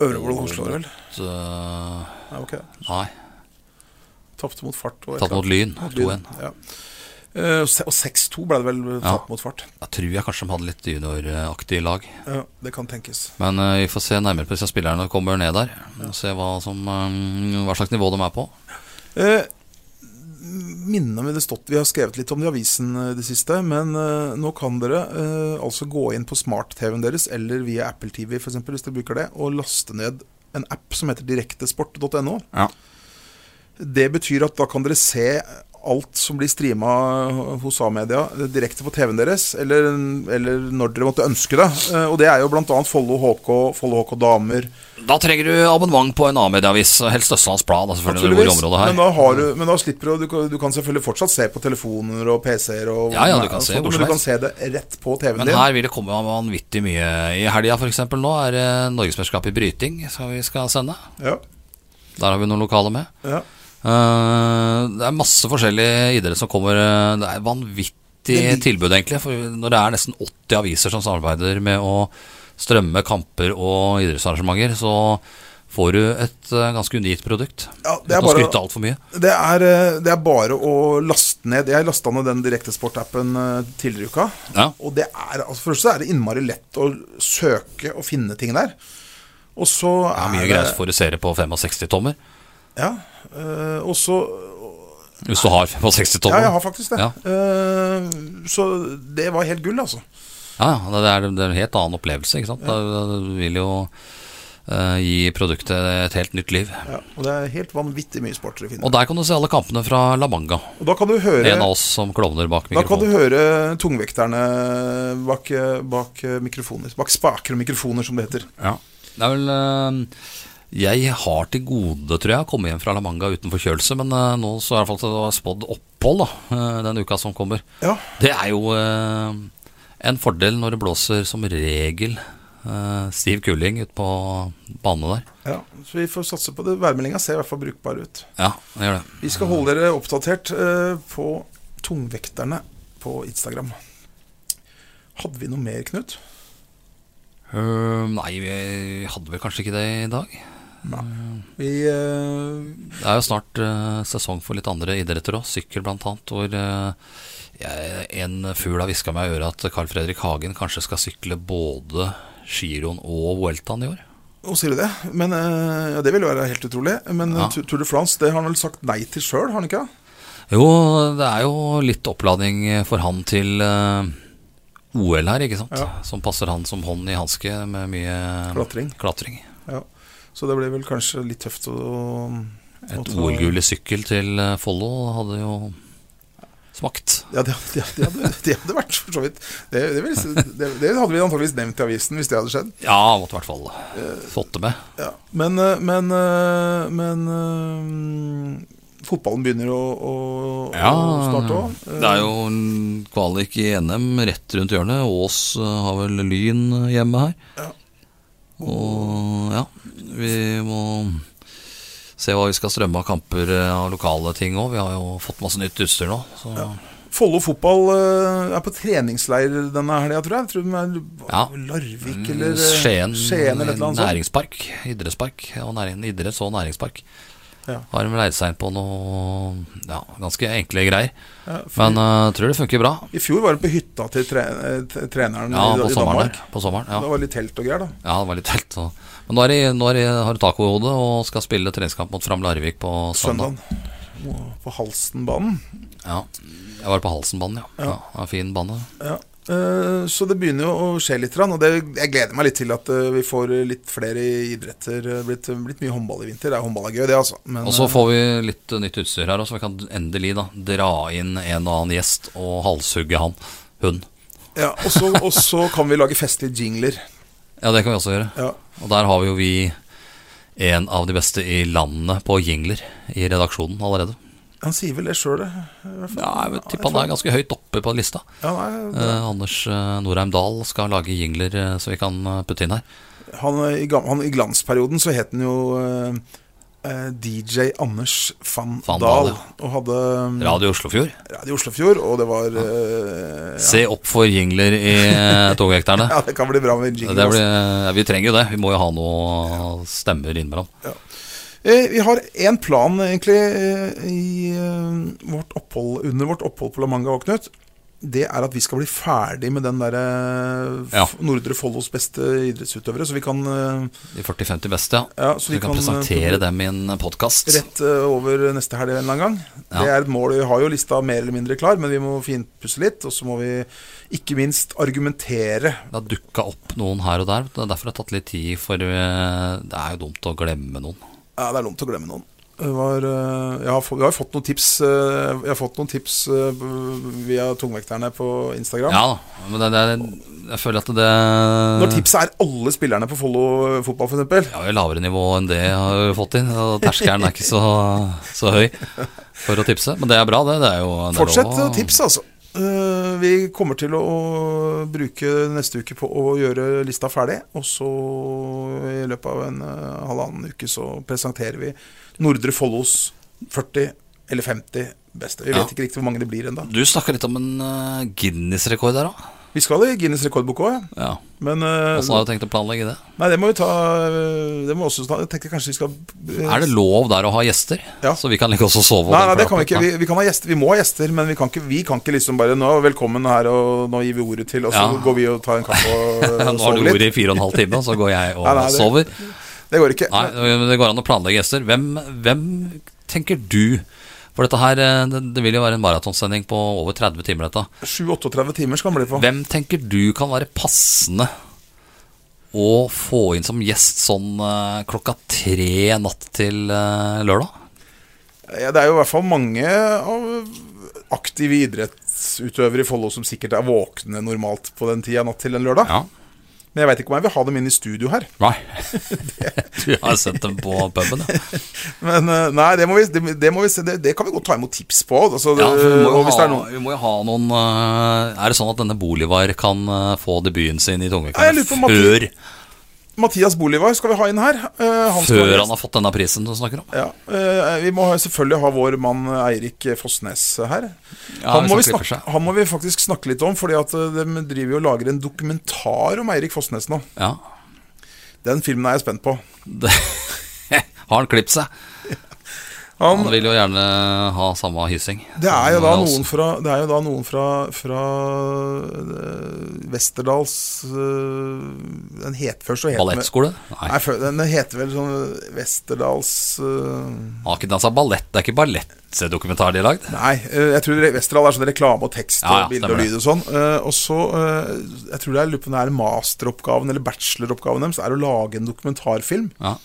Speaker 1: Øvrevold Oslo, vel?
Speaker 2: eh,
Speaker 1: Nei, ok.
Speaker 2: Nei,
Speaker 1: Tapte mot fart. og et
Speaker 2: tatt mot Lyn.
Speaker 1: eller annet.
Speaker 2: 2-1.
Speaker 1: Ja. Eh, og se- og 6-2 ble det vel eh,
Speaker 2: Ja.
Speaker 1: tapt mot fart.
Speaker 2: Jeg tror jeg kanskje de hadde litt junioraktig lag.
Speaker 1: Ja, det kan tenkes.
Speaker 2: Men eh, vi får se nærmere på disse spillerne når de kommer ned der. Og se hva, som, eh, hva slags nivå de er på.
Speaker 1: Eh, minne om det stått, Vi har skrevet litt om det i avisen eh, det siste, men eh, nå kan dere eh, altså gå inn på smart-TV-en deres eller via Apple TV for eksempel, hvis dere bruker det, og laste ned en app som heter direktesport.no.
Speaker 2: Ja.
Speaker 1: Det betyr at da kan dere se alt som blir streama hos A-media eh, direkte på TV-en deres, eller, eller når dere måtte ønske det. Eh, Og det er jo bl.a. Follo HK, Follo HK Damer,
Speaker 2: Da trenger du abonnement på en A-medieavis. Helst Østlands Blad, da, selvfølgelig. Når du bor i
Speaker 1: Naturligvis.
Speaker 2: området her.
Speaker 1: Men da, har du, men da slipper du, du kan- du kan selvfølgelig fortsatt se på telefoner og PC-er og
Speaker 2: Ja, ja, du
Speaker 1: nei,
Speaker 2: kan
Speaker 1: og
Speaker 2: se
Speaker 1: sånt,
Speaker 2: hvor
Speaker 1: Men
Speaker 2: som
Speaker 1: du kan
Speaker 2: helst.
Speaker 1: se det rett på TV-en
Speaker 2: Men
Speaker 1: din.
Speaker 2: her vil det komme vanvittig mye. I helga f.eks. nå er det norgesmesterskapet i bryting som vi skal sende.
Speaker 1: Ja,
Speaker 2: Der har vi noen lokale med.
Speaker 1: ja.
Speaker 2: Eh, det er masse forskjellige idretter som kommer. eh, Det er vanvittig
Speaker 1: Det lig-
Speaker 2: tilbud, egentlig. For når det er nesten 80 aviser som samarbeider med å strømme kamper og idrettsarrangementer, så får du et eh, ganske unikt produkt.
Speaker 1: Ja, det
Speaker 2: Uten
Speaker 1: er
Speaker 2: å
Speaker 1: bare-
Speaker 2: skryte altfor mye.
Speaker 1: Det, er, eh, det er bare å laste ned. Jeg lasta ned den Direktesport-appen eh, tidligere i uka.
Speaker 2: Ja.
Speaker 1: Og det er, altså for det første er det innmari lett å søke og finne ting der. Og så
Speaker 2: Det er mye greier for å se det på 65-tommer.
Speaker 1: Ja, eh, og så
Speaker 2: Hvis du har 65-tommer.
Speaker 1: Ja, jeg har faktisk det.
Speaker 2: Ja.
Speaker 1: Eh, så det var helt gull, altså.
Speaker 2: Ja, ja, det er, det er en helt annen opplevelse. ikke sant? Det vil jo eh, gi produktet et helt nytt liv.
Speaker 1: Ja, og det er helt vanvittig mye sport dere finner.
Speaker 2: Og der kan du se alle kampene fra La Manga.
Speaker 1: Og da kan du høre
Speaker 2: En av oss som klovner bak
Speaker 1: Da kan du
Speaker 2: mikrofonen.
Speaker 1: høre tungvekterne bak, bak mikrofoner. Bak spaker og mikrofoner, som det heter.
Speaker 2: Ja. Det er vel eh, Jeg har til gode, tror jeg, å komme hjem fra La Manga uten forkjølelse, men eh, nå så er det i hvert fall til det var spådd opphold da, eh, den uka som kommer.
Speaker 1: Ja,
Speaker 2: Det er jo eh, en fordel når det blåser som regel eh, eh, stiv kuling ute på banen der.
Speaker 1: Ja, så vi får satse på det. Værmeldinga ser i hvert fall brukbar ut.
Speaker 2: Ja, det gjør det.
Speaker 1: Vi skal holde dere oppdatert eh, på tungvekterne på Instagram. Hadde vi noe mer, Knut?
Speaker 2: Ehm, nei, vi hadde vel kanskje ikke det i dag.
Speaker 1: Nei. Vi, eh,
Speaker 2: Det er jo snart eh, sesong for litt andre idretter òg, sykkel blant annet. Hvor eh, jeg, en fugl har hviska meg i øret at Carl Fredrik Hagen kanskje skal sykle både giroen og Vueltaen i år.
Speaker 1: Å, sier du det? Men, eh, ja, det ville jo være helt utrolig. Men eh,
Speaker 2: Ja.
Speaker 1: Tour- Tour de France det har han vel sagt nei til sjøl, har han ikke?
Speaker 2: Jo, det er jo litt oppladning for han til eh, OL her, ikke sant?
Speaker 1: Ja.
Speaker 2: Som passer han som hånd i hanske med mye
Speaker 1: Klatring.
Speaker 2: klatring.
Speaker 1: Ja. Så det blir vel kanskje litt tøft å å
Speaker 2: Et
Speaker 1: ta-
Speaker 2: OL-gull i sykkel til eh, Follo hadde jo smakt.
Speaker 1: Ja, det, det, det, hadde, det hadde vært for så vidt. Det, det, vil, si- det, det hadde vi antakeligvis nevnt i avisen hvis det hadde skjedd.
Speaker 2: Ja, måtte i hvert fall
Speaker 1: Eh,
Speaker 2: fått det med.
Speaker 1: Ja. Men, eh, men, eh, men eh, fotballen begynner å, å, å Eh, snart òg.
Speaker 2: det er jo en kvalik i NM rett rundt hjørnet. Ås eh, har vel Lyn eh, hjemme her.
Speaker 1: Ja.
Speaker 2: Og ja, vi må se hva vi skal strømme av kamper eh, av lokale ting òg. Vi har jo fått masse nytt utstyr nå. Så ja.
Speaker 1: Follo fotball eh, er på treningsleir denne helga, tror jeg. jeg. Tror de er
Speaker 2: Ja.
Speaker 1: Larvik eller eh,
Speaker 2: Mm, Skien,
Speaker 1: Skien eller et eller annet sånt.
Speaker 2: næringspark. Idrettspark. Og næring, idretts- og næringspark.
Speaker 1: Ja.
Speaker 2: Har de leid seg inn på noe ja, ganske enkle greier.
Speaker 1: Ja, for
Speaker 2: Men jeg tror det funker bra.
Speaker 1: I fjor var de på hytta til tre, eh, t- treneren
Speaker 2: Ja,
Speaker 1: i,
Speaker 2: på
Speaker 1: i
Speaker 2: sommeren.
Speaker 1: Danmark.
Speaker 2: der, På sommeren ja.
Speaker 1: Det var litt telt og greier, da.
Speaker 2: Ja, det var litt telt. så- Men nå, er de, nå er de, har de taco i hodet og skal spille treningskamp mot Fram Larvik på søndag.
Speaker 1: Søndag. På Halstenbanen.
Speaker 2: Ja. Jeg var på Halsenbanen, ja. ja. ja fin bane.
Speaker 1: Ja. eh, Så det begynner jo å skje litt, grann, og det, jeg gleder meg litt til at eh, vi får litt flere idretter. Det er Blitt, blitt mye håndball i vinter. Det er håndball er gøy, det, altså. Men,
Speaker 2: Og så
Speaker 1: eh,
Speaker 2: får vi litt eh, nytt utstyr her også, så vi kan endelig da dra inn en og annen gjest og halshugge han. Hun.
Speaker 1: eh, ja, og, så, og så kan vi lage festlige jingler.
Speaker 2: Ja, det kan vi også gjøre.
Speaker 1: Ja.
Speaker 2: Og der har vi jo vi en av de beste i landet på jingler i redaksjonen allerede.
Speaker 1: Han sier vel det sjøl, det. i hvert fall.
Speaker 2: Ja, jeg tipper han er ganske høyt oppe på lista.
Speaker 1: Ja, nei,
Speaker 2: Eh, Anders eh, Norheim Dahl skal lage jingler eh, så vi kan eh, putte inn her.
Speaker 1: han, eh, i, gam- han, I glansperioden så het han jo eh, eh, DJ Anders van,
Speaker 2: Van
Speaker 1: Dahl.
Speaker 2: Dahl,
Speaker 1: Og hadde um,
Speaker 2: Radio Oslofjord.
Speaker 1: Radio Oslofjord, og det var eh,
Speaker 2: Se opp for jingler i eh, togvekterne.
Speaker 1: Ja, det kan bli bra med en jingle.
Speaker 2: Det
Speaker 1: altså.
Speaker 2: blir, ja, vi trenger jo det. Vi må jo ha noe stemmer innimellom.
Speaker 1: Eh, Vi har en plan egentlig eh, i eh, vårt opphold, under vårt opphold på La Manga og Knut. Det er at vi skal bli ferdig med den derre
Speaker 2: Ja.
Speaker 1: Nordre Follos beste idrettsutøvere. Så vi kan, eh,
Speaker 2: De 40-50 beste, ja.
Speaker 1: ja, så
Speaker 2: Så vi kan
Speaker 1: eh,
Speaker 2: presentere dem i en podkast.
Speaker 1: Rett eh, over neste helg en eller annen gang.
Speaker 2: Ja.
Speaker 1: Det er et mål. Vi har jo lista mer eller mindre klar, men vi må finpusse litt. Og så må vi ikke minst argumentere.
Speaker 2: Det har dukka opp noen her og der. Det er derfor det har tatt litt tid, for eh, det er jo dumt å glemme noen.
Speaker 1: Ja, det er dumt å glemme noen. Det var, eh, jeg, har fått, jeg har fått noen tips eh, Jeg har fått noen tips eh, b- via tungvekterne på Instagram.
Speaker 2: Ja da, men det, det, jeg føler at det
Speaker 1: Når tipset er alle spillerne på Follo fotball, f.eks.
Speaker 2: Ja, jo lavere nivå enn det jeg har fått inn. og Terskelen er ikke så, så høy for å tipse. Men det er bra, det. det er jo, det er
Speaker 1: Fortsett
Speaker 2: lov
Speaker 1: å tipse, altså. Eh, Vi kommer til å bruke neste uke på å gjøre lista ferdig. Og så i løpet av en eh, halvannen uke så presenterer vi Nordre Follos 40 eller 50 beste. Vi
Speaker 2: Ja.
Speaker 1: vet ikke riktig hvor mange det blir ennå.
Speaker 2: Du snakka litt om en eh, Guinness-rekord der òg.
Speaker 1: Vi skal i Guinness rekordbok òg,
Speaker 2: Ja.
Speaker 1: men eh,
Speaker 2: Åssen har du tenkt å planlegge det?
Speaker 1: Nei, det må vi ta eh, Det må vi også ta Jeg tenker kanskje vi skal eh,
Speaker 2: Er det lov der å ha gjester?
Speaker 1: Ja.
Speaker 2: Så vi kan ligge oss og sove? og
Speaker 1: Nei,
Speaker 2: den
Speaker 1: nei, det kan vi
Speaker 2: klappen.
Speaker 1: ikke. Vi, vi, kan ha gjester, vi må ha gjester, men vi kan ikke, vi kan ikke liksom bare nå, 'Velkommen her, og nå gir vi ordet til', og så
Speaker 2: Ja.
Speaker 1: går vi og tar en kaffe og
Speaker 2: Nå har
Speaker 1: eh, sover
Speaker 2: du ordet
Speaker 1: litt.
Speaker 2: i fire og en halv time, og så går jeg og
Speaker 1: Nei, nei, det-
Speaker 2: sover.
Speaker 1: Det går ikke.
Speaker 2: Nei, men det går an å planlegge gjester. Hvem, hvem tenker du For dette her, eh, det, det vil jo være en maratonsending på over 30 timer, dette.
Speaker 1: 7-38 timer skal han bli på.
Speaker 2: Hvem tenker du kan være passende å få inn som gjest sånn eh, klokka tre natt til eh, lørdag?
Speaker 1: Ja, det er jo i hvert fall mange av aktive idrettsutøvere i Follo som sikkert er våkne normalt på den tida natt til en lørdag.
Speaker 2: Ja.
Speaker 1: Men jeg veit ikke om jeg vil ha dem inn i studio her.
Speaker 2: Nei. du har sett dem på puben, ja.
Speaker 1: Men eh, nei, det må vi, det, det må vi se. Det, det kan vi godt ta imot tips på. Altså,
Speaker 2: Ja, for vi, må jo
Speaker 1: og hvis
Speaker 2: ha,
Speaker 1: det er noen
Speaker 2: vi må jo ha noen eh, Er det sånn at denne Bolivar kan eh, få debuten sin i
Speaker 1: Nei, jeg
Speaker 2: Tungvekten
Speaker 1: lurer på om Matti-
Speaker 2: før
Speaker 1: Mathias Bolivar skal vi ha inn her. Eh, han skal
Speaker 2: Før
Speaker 1: være
Speaker 2: han har fått denne prisen du snakker om.
Speaker 1: Ja, eh, Vi må ha- selvfølgelig ha vår mann eh, Eirik Fossnes her.
Speaker 2: Ja,
Speaker 1: han,
Speaker 2: hvis
Speaker 1: må
Speaker 2: han
Speaker 1: vi
Speaker 2: klipper
Speaker 1: snakke,
Speaker 2: seg.
Speaker 1: han må vi faktisk snakke litt om, Fordi at eh, de driver jo og lager en dokumentar om Eirik Fossnes nå.
Speaker 2: Ja.
Speaker 1: Den filmen er jeg spent på.
Speaker 2: Det, har han klippet seg? Han
Speaker 1: Han,
Speaker 2: vil jo gjerne ha samme hyssing.
Speaker 1: det er jo
Speaker 2: som
Speaker 1: da
Speaker 2: oss.
Speaker 1: noen fra, det er jo da noen fra, fra eh, Westerdals eh, Den het før så het den-
Speaker 2: Ballettskole? Nei.
Speaker 1: Nei, før- den heter vel sånn Westerdals eh,
Speaker 2: Han har ikke dansa ballett. Det er ikke ballettdokumentar de har lagd.
Speaker 1: Nei, eh, jeg tror Westerdal er sånn reklame og tekst
Speaker 2: Ja, ja,
Speaker 1: og bilde og
Speaker 2: stemmer
Speaker 1: lyd og sånn. Eh, Og så, eh, jeg tror det er, lurer på om det er masteroppgaven eller bacheloroppgaven deres, er å lage en dokumentarfilm.
Speaker 2: Ja.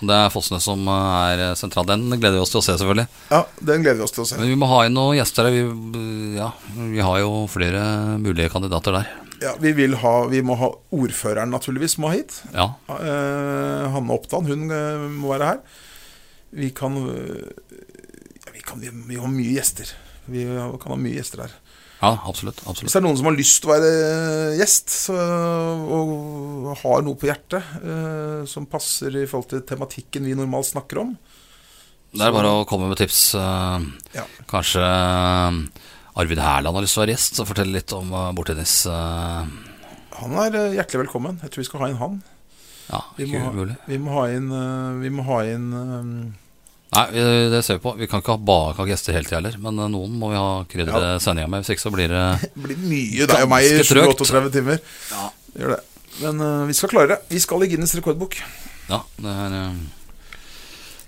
Speaker 2: Det er Fossnes som eh, er sentral. Den gleder vi oss til å se, selvfølgelig.
Speaker 1: Ja, Den gleder vi oss til å se.
Speaker 2: Men vi må ha inn noen gjester her. Vi, ja, vi har jo flere mulige kandidater der.
Speaker 1: Ja, vi, vil ha, vi må ha ordføreren, naturligvis, må hit.
Speaker 2: Ja.
Speaker 1: Eh, Hanne Oppdan, hun eh, må være her. Vi kan, eh, ja, vi kan vi, vi har mye gjester. Vi kan ha mye gjester her.
Speaker 2: ja, absolutt. absolutt.
Speaker 1: Hvis det er noen som har lyst til å være eh, gjest, så, og har noe på hjertet eh, som passer i forhold til tematikken vi normalt snakker om
Speaker 2: Det er bare å komme med tips. eh,
Speaker 1: Ja.
Speaker 2: Kanskje eh, Arvid Herland har lyst til å være gjest, så fortell litt om eh, bordtennis. eh,
Speaker 1: Han er eh, hjertelig velkommen. Jeg tror vi skal ha inn han.
Speaker 2: Ja,
Speaker 1: Vi
Speaker 2: ikke
Speaker 1: må ha-
Speaker 2: umulig.
Speaker 1: Vi må ha inn, eh, vi må ha inn eh,
Speaker 2: Nei, vi- det ser vi på. Vi kan ikke ha bare ha gjester hele tida heller, men eh, noen må vi ha krydre sendinga med. Hvis ikke så blir det
Speaker 1: Det blir mye deg og meg i
Speaker 2: Ganske trøgt.
Speaker 1: 38 timer.
Speaker 2: Ja.
Speaker 1: Gjør det. Men eh, vi skal klare det. Vi skal i Guinness rekordbok.
Speaker 2: Ja, det er eh,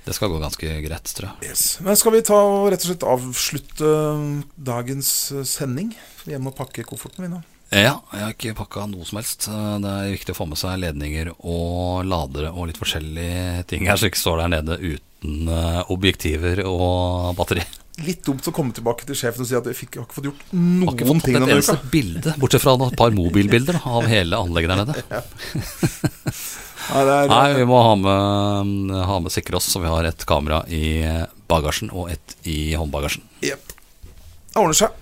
Speaker 2: Det skal gå ganske greit, tror jeg.
Speaker 1: Yes. Men skal vi ta og rett og slett avslutte eh, dagens eh, sending? Vi må pakke kofferten, vi nå.
Speaker 2: Ja, jeg har ikke pakka noe som helst. Eh, Det er viktig å få med seg ledninger og ladere og litt forskjellige ting her, så ikke står der nede uten eh, objektiver og batteri.
Speaker 1: Litt dumt å komme tilbake til sjefen og si at jeg fikk, jeg har ikke fått gjort
Speaker 2: Har ikke
Speaker 1: noen
Speaker 2: fått
Speaker 1: ting
Speaker 2: et
Speaker 1: denne
Speaker 2: eneste
Speaker 1: uka.
Speaker 2: bilde, bortsett fra et par mobilbilder da, av hele anlegget der nede.
Speaker 1: Nei, det er,
Speaker 2: Nei, vi må ha med, ha med sikre oss, så vi har et kamera i bagasjen og et i håndbagasjen.
Speaker 1: Jep. Det ordner seg.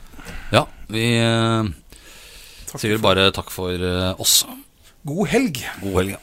Speaker 2: Ja, vi eh,
Speaker 1: Takk
Speaker 2: sier
Speaker 1: for-
Speaker 2: bare takk for eh, oss.
Speaker 1: God helg.
Speaker 2: God helg. ja.